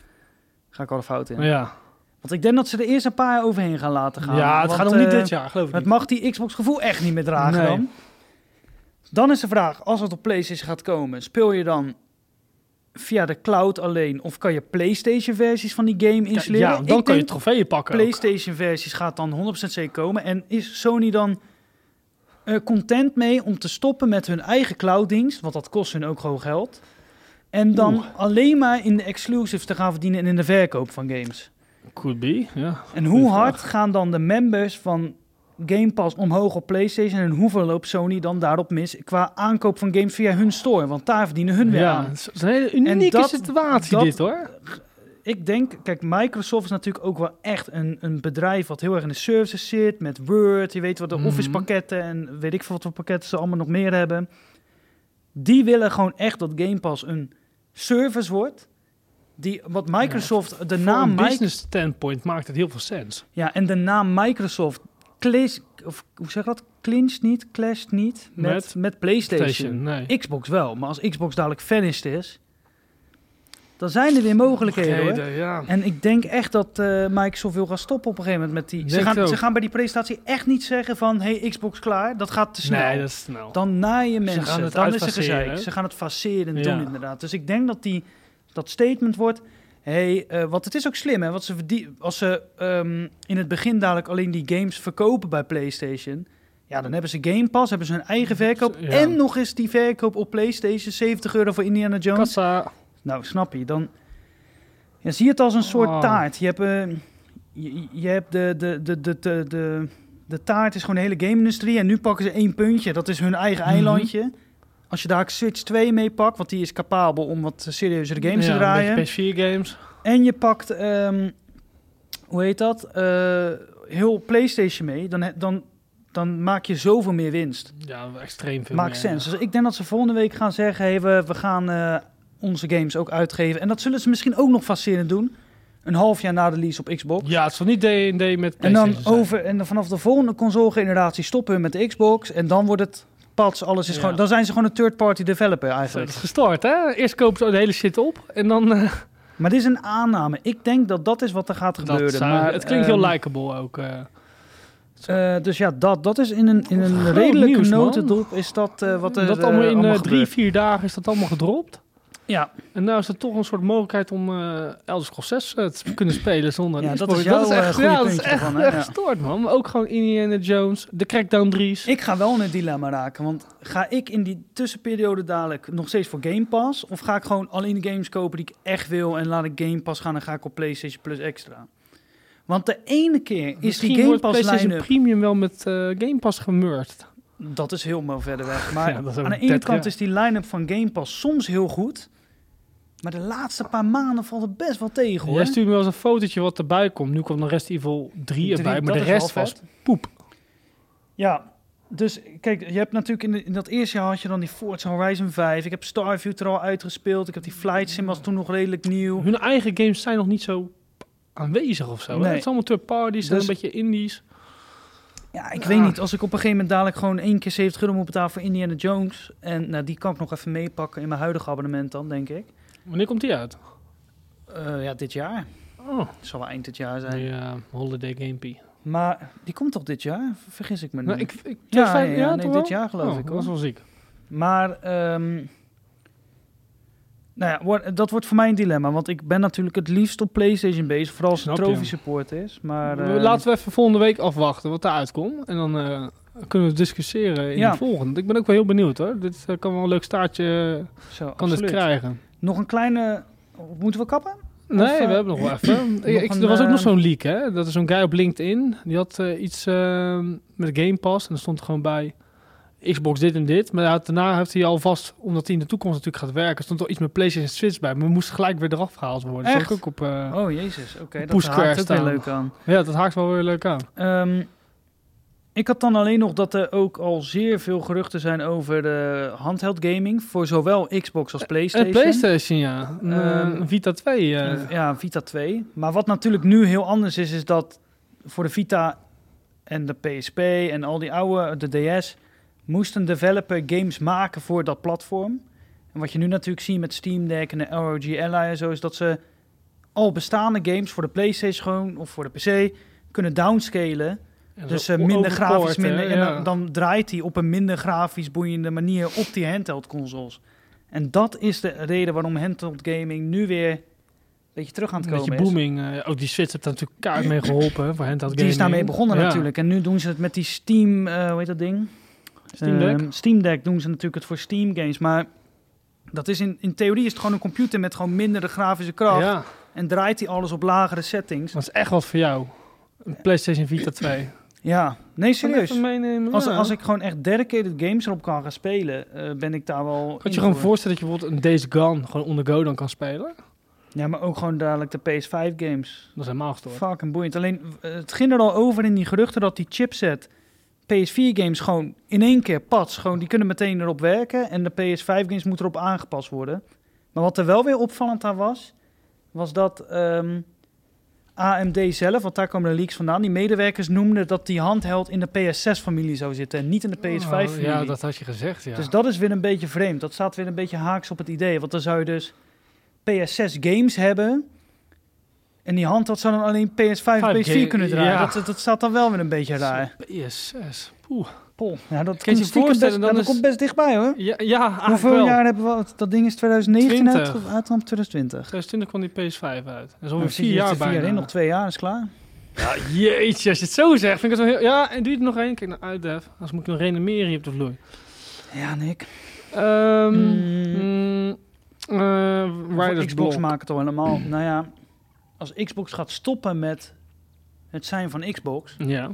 Speaker 1: Ga ik al de fout in.
Speaker 2: Ja,
Speaker 1: Want ik denk dat ze de eerste paar jaar overheen gaan laten gaan.
Speaker 2: ja het
Speaker 1: Want,
Speaker 2: gaat nog niet
Speaker 1: eh,
Speaker 2: dit jaar, geloof ik
Speaker 1: Het
Speaker 2: niet.
Speaker 1: mag die Xbox gevoel echt niet meer dragen
Speaker 2: Nee.
Speaker 1: dan. Dan is de vraag, als het op PlayStation gaat komen, speel je dan via de cloud alleen of kan je PlayStation versies van die game
Speaker 2: Ja,
Speaker 1: installeren?
Speaker 2: ja, dan kan je
Speaker 1: denk
Speaker 2: trofeeën pakken ook.
Speaker 1: PlayStation versies gaat dan 100% zeker komen en is Sony dan eh, content mee om te stoppen met hun eigen clouddienst, want dat kost hun ook gewoon geld. En dan alleen maar in de exclusives te gaan verdienen en in de verkoop van games.
Speaker 2: Could be, ja.
Speaker 1: En hoe
Speaker 2: Goeie vraag.
Speaker 1: hard gaan dan de members van Game Pass omhoog op PlayStation en hoeveel loopt Sony dan daarop mis qua aankoop van games via hun store? Want daar verdienen hun weer
Speaker 2: ja,
Speaker 1: aan.
Speaker 2: het is een hele unieke
Speaker 1: dat-
Speaker 2: situatie
Speaker 1: dat-
Speaker 2: dit hoor.
Speaker 1: Ik denk, kijk, Microsoft is natuurlijk ook wel echt een, een bedrijf wat heel erg in de services zit met Word, je weet wat de
Speaker 2: Mhm.
Speaker 1: Office pakketten en weet ik veel wat voor pakketten ze allemaal nog meer hebben. Die willen gewoon echt dat Game Pass een service wordt. Die, wat Microsoft, de naam
Speaker 2: Van een
Speaker 1: Microsoft.
Speaker 2: business standpoint maakt het heel veel sens.
Speaker 1: Ja, en de naam Microsoft clash, of hoe zeg je dat? Clincht niet, clasht niet met, met,
Speaker 2: Met
Speaker 1: PlayStation.
Speaker 2: Station, nee.
Speaker 1: Xbox wel, maar als Xbox dadelijk finished is, Dan zijn er weer mogelijkheden hoor.
Speaker 2: Mogelijkheden, ja.
Speaker 1: En ik denk echt dat eh Microsoft wil gaan stoppen op een gegeven moment met die. Ze
Speaker 2: Denk het
Speaker 1: gaan,
Speaker 2: ook.
Speaker 1: ze gaan bij die presentatie echt niet zeggen van hey, Xbox klaar. Dat gaat te snel.
Speaker 2: Nee, dat is snel.
Speaker 1: Dan naaien mensen.
Speaker 2: gaan het
Speaker 1: dan is er
Speaker 2: uitfaceren,
Speaker 1: gezeik.
Speaker 2: hè?
Speaker 1: Ze gaan het faceren doen
Speaker 2: Ja.
Speaker 1: inderdaad. Dus ik denk dat die, dat statement wordt. Hey, eh, want het is ook slim, hè? Want ze verdie- als ze ehm, in het begin dadelijk alleen die games verkopen bij PlayStation. Ja, dan hebben ze Game Pass, hebben ze hun eigen verkoop.
Speaker 2: Ja.
Speaker 1: En nog eens die verkoop op PlayStation, 70 euro voor Indiana Jones.
Speaker 2: Kassa.
Speaker 1: Nou, snap je. Dan ja, zie je het als een soort
Speaker 2: Oh.
Speaker 1: taart. Je hebt, eh, je, je hebt de, de, de, de, de, de, de taart is gewoon de hele game-industrie. En nu pakken ze één puntje. Dat is hun eigen
Speaker 2: Mhm.
Speaker 1: eilandje. Als je daar Switch 2 mee pakt, want die is capabel om wat serieuzere games
Speaker 2: ja,
Speaker 1: te draaien.
Speaker 2: een beetje PS4 games.
Speaker 1: En je pakt, ehm, hoe heet dat? Eh, heel PlayStation mee. Dan, he- dan, dan maak je zoveel meer winst.
Speaker 2: Ja, extreem veel
Speaker 1: Maakt
Speaker 2: meer, ja.
Speaker 1: sens. Dus ik denk dat ze volgende week gaan zeggen: hey, we, we gaan eh, onze games ook uitgeven. En dat zullen ze misschien ook nog fascinerend doen. Een half jaar na de lease op Xbox.
Speaker 2: Ja, het zal niet D&D met
Speaker 1: en dan
Speaker 2: PlayStation zijn.
Speaker 1: over en dan vanaf de volgende console-generatie stoppen we met de Xbox. En dan wordt het pats, alles is
Speaker 2: Ja.
Speaker 1: gewoon. Dan zijn ze gewoon een third-party developer
Speaker 2: Zo, Dat
Speaker 1: eigenlijk.
Speaker 2: is gestort, hè? Eerst kopen ze de hele shit op en dan... eh,
Speaker 1: Maar dit is een aanname. Ik denk dat dat is wat er gaat
Speaker 2: dat
Speaker 1: gebeuren.
Speaker 2: zou-
Speaker 1: maar,
Speaker 2: het klinkt heel
Speaker 1: ehm,
Speaker 2: likable ook. eh.
Speaker 1: eh, dus ja, dat, dat is in een, in een
Speaker 2: Groot
Speaker 1: redelijke
Speaker 2: nieuws, man.
Speaker 1: notendop is dat eh, wat er
Speaker 2: dat
Speaker 1: eh,
Speaker 2: allemaal in eh, drie,
Speaker 1: gebeurt.
Speaker 2: vier dagen is dat allemaal gedropt.
Speaker 1: Ja,
Speaker 2: En nou is er toch een soort mogelijkheid om eh Elder Scrolls 6 eh, te kunnen spelen zonder...
Speaker 1: Ja,
Speaker 2: een
Speaker 1: dat
Speaker 2: e-sport.
Speaker 1: is jouw, eh,
Speaker 2: echt,
Speaker 1: goede
Speaker 2: ja, dat is
Speaker 1: puntje
Speaker 2: echt,
Speaker 1: ervan, hè?
Speaker 2: echt
Speaker 1: Ja.
Speaker 2: gestoord, man. Maar ook gewoon Indiana Jones, de Crackdown 3's.
Speaker 1: Ik ga wel in het dilemma raken, want ga ik in die tussenperiode dadelijk nog steeds voor Game Pass? Of ga ik gewoon alleen de games kopen die ik echt wil en laat ik Game Pass gaan en ga ik op PlayStation Plus extra? Want de ene keer is
Speaker 2: Misschien
Speaker 1: die Game
Speaker 2: wordt
Speaker 1: Pass
Speaker 2: PlayStation
Speaker 1: line-up,
Speaker 2: Premium wel met eh, Game Pass gemurkt.
Speaker 1: dat is helemaal verder weg. Maar
Speaker 2: [LAUGHS] Ja, dat is ook
Speaker 1: aan de ene
Speaker 2: 30
Speaker 1: kant
Speaker 2: jaar.
Speaker 1: is die line-up van Game Pass soms heel goed, maar de laatste paar maanden valt het best wel tegen hoor.
Speaker 2: Jij stuurt me wel eens een fotootje wat erbij komt. Nu kwam de Rest Evil 3
Speaker 1: Drie,
Speaker 2: erbij, maar
Speaker 1: dat
Speaker 2: de
Speaker 1: is wel
Speaker 2: rest
Speaker 1: vet.
Speaker 2: was poep.
Speaker 1: Ja, dus kijk, je hebt natuurlijk in, de- in dat eerste jaar had je dan die Forza Horizon 5. Ik heb Starfield er al uitgespeeld. Ik heb die Flight Sim was toen nog redelijk nieuw.
Speaker 2: Hun eigen games zijn nog niet zo aanwezig of zo. hè?
Speaker 1: Nee.
Speaker 2: Het is allemaal third parties en
Speaker 1: Dus-
Speaker 2: een beetje indies.
Speaker 1: Ja, ik
Speaker 2: Ja.
Speaker 1: weet niet. Als ik op een gegeven moment dadelijk gewoon één keer 70 euro moet betalen voor Indiana Jones. En nou, die kan ik nog even meepakken in mijn huidige abonnement dan, denk ik.
Speaker 2: Wanneer komt die uit?
Speaker 1: Eh, ja, dit jaar.
Speaker 2: Oh,
Speaker 1: Het zal wel eind dit jaar zijn.
Speaker 2: ja, Holiday Gamepie.
Speaker 1: Maar die komt toch dit jaar? Vergis ik me nu.
Speaker 2: Nou, ik, ik,
Speaker 1: ja, ja, ja, nee,
Speaker 2: toch wel?
Speaker 1: dit jaar geloof
Speaker 2: Oh,
Speaker 1: ik.
Speaker 2: Dat was
Speaker 1: Hoor.
Speaker 2: wel ziek.
Speaker 1: Maar ehm, nou ja, wor- dat wordt voor mij een dilemma. Want ik ben natuurlijk het liefst op PlayStation bezig. Vooral als het
Speaker 2: Snap je.
Speaker 1: trophy support is. Maar, eh,
Speaker 2: Laten we even volgende week afwachten wat eruit komt. En dan eh, kunnen we discussiëren in
Speaker 1: Ja.
Speaker 2: de volgende. Ik ben ook wel heel benieuwd hoor. Dit eh, kan wel een leuk staartje eh,
Speaker 1: zo,
Speaker 2: kan dit
Speaker 1: absoluut.
Speaker 2: krijgen.
Speaker 1: Nog een kleine... Moeten we kappen?
Speaker 2: Nee,
Speaker 1: eh,
Speaker 2: we hebben nog wel
Speaker 1: [CLEARS THROAT]
Speaker 2: even. Ik-
Speaker 1: nog
Speaker 2: ik-
Speaker 1: een,
Speaker 2: er was ook
Speaker 1: eh,
Speaker 2: nog zo'n leak, hè? Dat is zo'n guy op LinkedIn. Die had eh, iets eh, met Game Pass. En er stond gewoon bij Xbox dit en dit. Maar hij had- daarna heeft hij alvast, omdat hij in de toekomst natuurlijk gaat werken, stond er iets met PlayStation Switch bij. Maar we moesten gelijk weer eraf gehaald worden. Dat
Speaker 1: Echt?
Speaker 2: zag ik ook op, eh,
Speaker 1: Oh, jezus. Oké, dat
Speaker 2: Push
Speaker 1: haakt ook
Speaker 2: square
Speaker 1: weer
Speaker 2: staan.
Speaker 1: leuk aan.
Speaker 2: Ja, dat haakt wel weer leuk aan.
Speaker 1: Ehm, ik had dan alleen nog dat er ook al zeer veel geruchten zijn over de handheld gaming. Voor zowel Xbox
Speaker 2: Eh,
Speaker 1: als PlayStation.
Speaker 2: En PlayStation, ja. Een, eh,
Speaker 1: Ehm,
Speaker 2: een Vita 2. eh.
Speaker 1: Eh, ja, Vita 2. Maar wat natuurlijk nu heel anders is, is dat voor de Vita en de PSP en al die oude, de DS, moest een developer games maken voor dat platform. En wat je nu natuurlijk ziet met Steam Deck en de ROG Ally en zo, is dat ze al bestaande games voor de PlayStation gewoon, of voor de PC kunnen downscalen
Speaker 2: En
Speaker 1: Dus
Speaker 2: zo
Speaker 1: eh, minder
Speaker 2: overpowered,
Speaker 1: grafisch,
Speaker 2: hè,
Speaker 1: minder, en
Speaker 2: ja.
Speaker 1: dan, dan draait hij op een minder grafisch boeiende manier op die handheld consoles. En dat is de reden waarom handheld gaming nu weer een beetje terug aan het
Speaker 2: Een
Speaker 1: komen
Speaker 2: beetje
Speaker 1: is.
Speaker 2: booming. eh, ook die Switch heeft daar natuurlijk kaart mee geholpen hè, voor handheld
Speaker 1: Die is
Speaker 2: gaming.
Speaker 1: daarmee begonnen
Speaker 2: Ja.
Speaker 1: natuurlijk. En nu doen ze het met die Steam, eh, hoe heet dat ding?
Speaker 2: Steam Deck.
Speaker 1: Ehm, Steam Deck doen ze natuurlijk het voor Steam games. Maar dat is in, in theorie is het gewoon een computer met gewoon mindere grafische kracht.
Speaker 2: Ja,
Speaker 1: En draait hij alles op lagere settings.
Speaker 2: dat is echt wat voor jou. Een PlayStation Vita 2.
Speaker 1: Ja, nee serieus.
Speaker 2: Even meenemen.
Speaker 1: Als,
Speaker 2: ja.
Speaker 1: als ik gewoon echt dedicated games erop kan gaan spelen, eh, ben ik daar wel. in
Speaker 2: Kan je gewoon
Speaker 1: voor.
Speaker 2: voorstellen dat je bijvoorbeeld een Days Gone gewoon on the go dan kan spelen?
Speaker 1: Ja, maar ook gewoon dadelijk de PS5 games.
Speaker 2: Dat is helemaal gestoord.
Speaker 1: Fucking boeiend. Alleen eh, het ging er al over in die geruchten dat die chipset PS4 games gewoon in één keer pats. Gewoon die kunnen meteen erop werken en de PS5 games moeten erop aangepast worden. Maar wat er wel weer opvallend aan was, was dat ehm, AMD zelf, want daar komen de leaks vandaan, die medewerkers noemden dat die handheld in de PS6-familie zou zitten en niet in de PS5-familie.
Speaker 2: Oh, ja, dat had je gezegd, ja.
Speaker 1: Dus dat is weer een beetje vreemd. Dat staat weer een beetje haaks op het idee. Want dan zou je dus PS6 games hebben. En die hand had zou dan alleen PS5
Speaker 2: Vijf
Speaker 1: en PS4
Speaker 2: ga-
Speaker 1: kunnen draaien.
Speaker 2: ja.
Speaker 1: Dat, dat staat dan wel weer een beetje raar.
Speaker 2: PS6. Poeh.
Speaker 1: Pol. Ja, dat,
Speaker 2: Kan je
Speaker 1: komt,
Speaker 2: je
Speaker 1: stiekem
Speaker 2: voorstellen,
Speaker 1: best,
Speaker 2: dan
Speaker 1: dat
Speaker 2: is-
Speaker 1: komt best dichtbij hoor.
Speaker 2: Ja, ja eigenlijk
Speaker 1: Hoeveel
Speaker 2: wel.
Speaker 1: jaar hebben we... Dat ding is 2019 uit,
Speaker 2: 20.
Speaker 1: of uit dan 2020?
Speaker 2: 2020 kwam die PS5 uit. Dat is
Speaker 1: Nou,
Speaker 2: ongeveer
Speaker 1: dan zit
Speaker 2: vier
Speaker 1: je
Speaker 2: jaar
Speaker 1: er
Speaker 2: bijna.
Speaker 1: in, nog twee jaar is klaar.
Speaker 2: Ja, jeetje, als je het zo zegt, vind ik het wel heel... Ja, en doe je er nog één? Kijk naar uit, Def. Anders moet ik nog renomeren hier op de vloer.
Speaker 1: Ja, Nick.
Speaker 2: Ehm
Speaker 1: Mm.
Speaker 2: mm, eh,
Speaker 1: Voor
Speaker 2: Riders
Speaker 1: Xbox
Speaker 2: Block.
Speaker 1: maakt het al helemaal. nou ja, als Xbox gaat stoppen met het zijn van Xbox,
Speaker 2: Ja.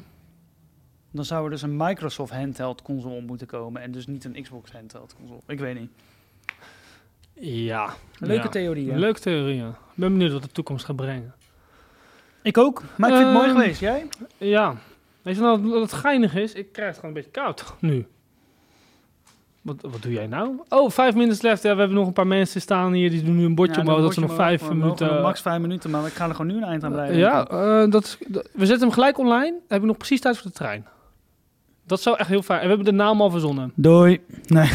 Speaker 1: dan zou er dus een Microsoft handheld console moeten komen en dus niet een Xbox handheld console. Ik weet niet.
Speaker 2: Ja.
Speaker 1: Een Leuke
Speaker 2: Ja.
Speaker 1: theorie. hè?
Speaker 2: Leuke theorie, ja. Ik ben benieuwd wat de toekomst gaat brengen.
Speaker 1: Ik ook. Maar ik vind het mooi
Speaker 2: Ehm,
Speaker 1: geweest. Jij?
Speaker 2: Ja. Weet je nou wat het geinig is? Ik krijg het gewoon een beetje koud nu. Wat, wat doe jij nou? Oh, vijf minutes left. Ja, we hebben nog een paar mensen staan hier. Die doen nu een bordje
Speaker 1: Ja,
Speaker 2: omhoog.
Speaker 1: dan
Speaker 2: Dat ze
Speaker 1: word
Speaker 2: nog
Speaker 1: je
Speaker 2: vijf
Speaker 1: omhoog. We mogen
Speaker 2: minuten...
Speaker 1: nog max vijf minuten, maar ik ga er gewoon nu een eind aan blijven.
Speaker 2: Ja, eh, dat, is- dat- we zetten hem gelijk online. Dan heb ik nog precies tijd voor de trein. Dat zou echt heel fijn. En we hebben de naam al verzonnen.
Speaker 1: Doei.
Speaker 2: Ja,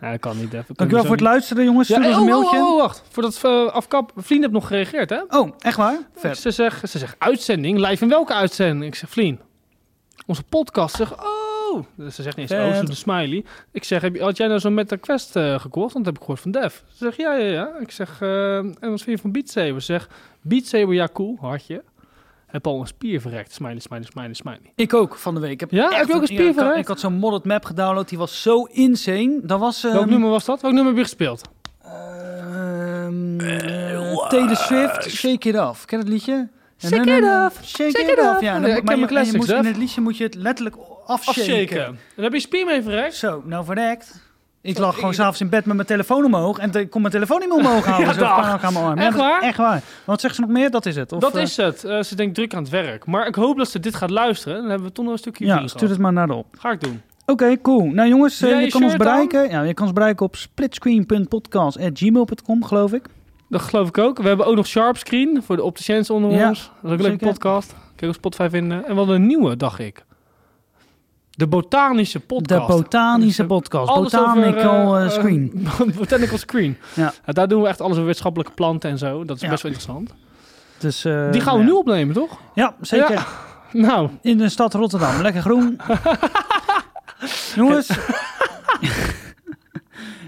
Speaker 2: dat kan niet. Even.
Speaker 1: Dankjewel voor het luisteren, jongens.
Speaker 2: Ja,
Speaker 1: Stuur
Speaker 2: eh,
Speaker 1: ons
Speaker 2: oh,
Speaker 1: een
Speaker 2: oh,
Speaker 1: mailtje.
Speaker 2: oh, wacht. Voordat we afkap. Vlien heeft nog gereageerd, hè?
Speaker 1: Oh, echt waar? Vet.
Speaker 2: Ze zegt, ze zegt uitzending. Live in welke uitzending? Ik zeg Vlien. Onze podcast. Zeg, oh. Ze zegt niet eens, oh,
Speaker 1: Vet.
Speaker 2: ze doet een smiley. Ik zeg, heb je, had jij nou zo'n Meta Quest eh, gekocht? Want dat heb ik gehoord van Dev. Ze zegt, ja, ja, ja. Ik zeg, eh, en wat vind je van Beat Saber? Ze zegt, Beat Saber, ja, cool. Hartje. Heb al een spier verrekt. Smiley, smiley, smiley, smiley.
Speaker 1: Ik ook van de week. Ik heb
Speaker 2: Ja,
Speaker 1: echt
Speaker 2: heb je ook een spier
Speaker 1: ik had-
Speaker 2: verrijkt?
Speaker 1: Ik had zo'n modded map gedownload, die was zo insane. Dat was...
Speaker 2: Welk
Speaker 1: ehm,
Speaker 2: nummer was dat? Welk nummer heb je gespeeld?
Speaker 1: Ehm, eh, Taylor Swift, Shake It Off. Ken je dat liedje?
Speaker 2: Shake
Speaker 1: Na, na, na,
Speaker 2: it
Speaker 1: na.
Speaker 2: off,
Speaker 1: Shake,
Speaker 2: shake
Speaker 1: it,
Speaker 2: it
Speaker 1: off.
Speaker 2: off.
Speaker 1: Ja,
Speaker 2: Ja, ik
Speaker 1: dan,
Speaker 2: ken
Speaker 1: maar je,
Speaker 2: mijn classics,
Speaker 1: je moet,
Speaker 2: hè?
Speaker 1: in het liedje moet je het letterlijk afshaken.
Speaker 2: Afshaken. En daar heb je spier mee verrekt?
Speaker 1: Zo, nou verrekt. Ik lag gewoon s'avonds in bed met mijn telefoon omhoog en ik kon mijn telefoon niet meer omhoog houden.
Speaker 2: [LAUGHS] Ja,
Speaker 1: Zo'n
Speaker 2: dag.
Speaker 1: paniek aan mijn arm. Ja,
Speaker 2: Echt
Speaker 1: dat is
Speaker 2: waar?
Speaker 1: Echt waar. Wat zegt ze nog meer? Dat is het. Of,
Speaker 2: dat
Speaker 1: eh,
Speaker 2: is het. Eh, ze denkt druk aan het werk. Maar ik hoop dat ze dit gaat luisteren. Dan hebben we toch nog een stukje
Speaker 1: Ja,
Speaker 2: jullie
Speaker 1: stuur het maar naar de op.
Speaker 2: gehad. Ga ik doen.
Speaker 1: Oké, cool. Nou jongens,
Speaker 2: Doe
Speaker 1: eh,
Speaker 2: jij
Speaker 1: je
Speaker 2: je
Speaker 1: kan ons
Speaker 2: shirt aan?
Speaker 1: bereiken. Ja, je kan ons bereiken op splitscreen.podcast.gmail.com, geloof ik.
Speaker 2: Dat geloof ik ook. We hebben ook nog Sharpscreen voor de opticiens onder
Speaker 1: Ja,
Speaker 2: ons. Dat is ook een leuke
Speaker 1: zeker.
Speaker 2: podcast. Kijk op Spotify vinden. En wat een nieuwe, dacht ik. De botanische podcast.
Speaker 1: De botanische podcast.
Speaker 2: Alles
Speaker 1: Botanical
Speaker 2: over, eh,
Speaker 1: eh,
Speaker 2: eh,
Speaker 1: Screen.
Speaker 2: [LAUGHS] botanical Screen.
Speaker 1: Ja.
Speaker 2: Nou, daar doen we echt alles over wetenschappelijke planten en zo. Dat is
Speaker 1: Ja.
Speaker 2: best wel interessant.
Speaker 1: Dus, eh,
Speaker 2: Die gaan
Speaker 1: nou
Speaker 2: we nu
Speaker 1: ja.
Speaker 2: opnemen, toch?
Speaker 1: Ja, zeker.
Speaker 2: Ja. Nou,
Speaker 1: In de stad Rotterdam. Lekker
Speaker 2: [LAUGHS]
Speaker 1: groen. Jongens.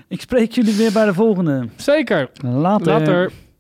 Speaker 1: ik spreek jullie weer bij de volgende.
Speaker 2: zeker.
Speaker 1: Later.
Speaker 2: Later.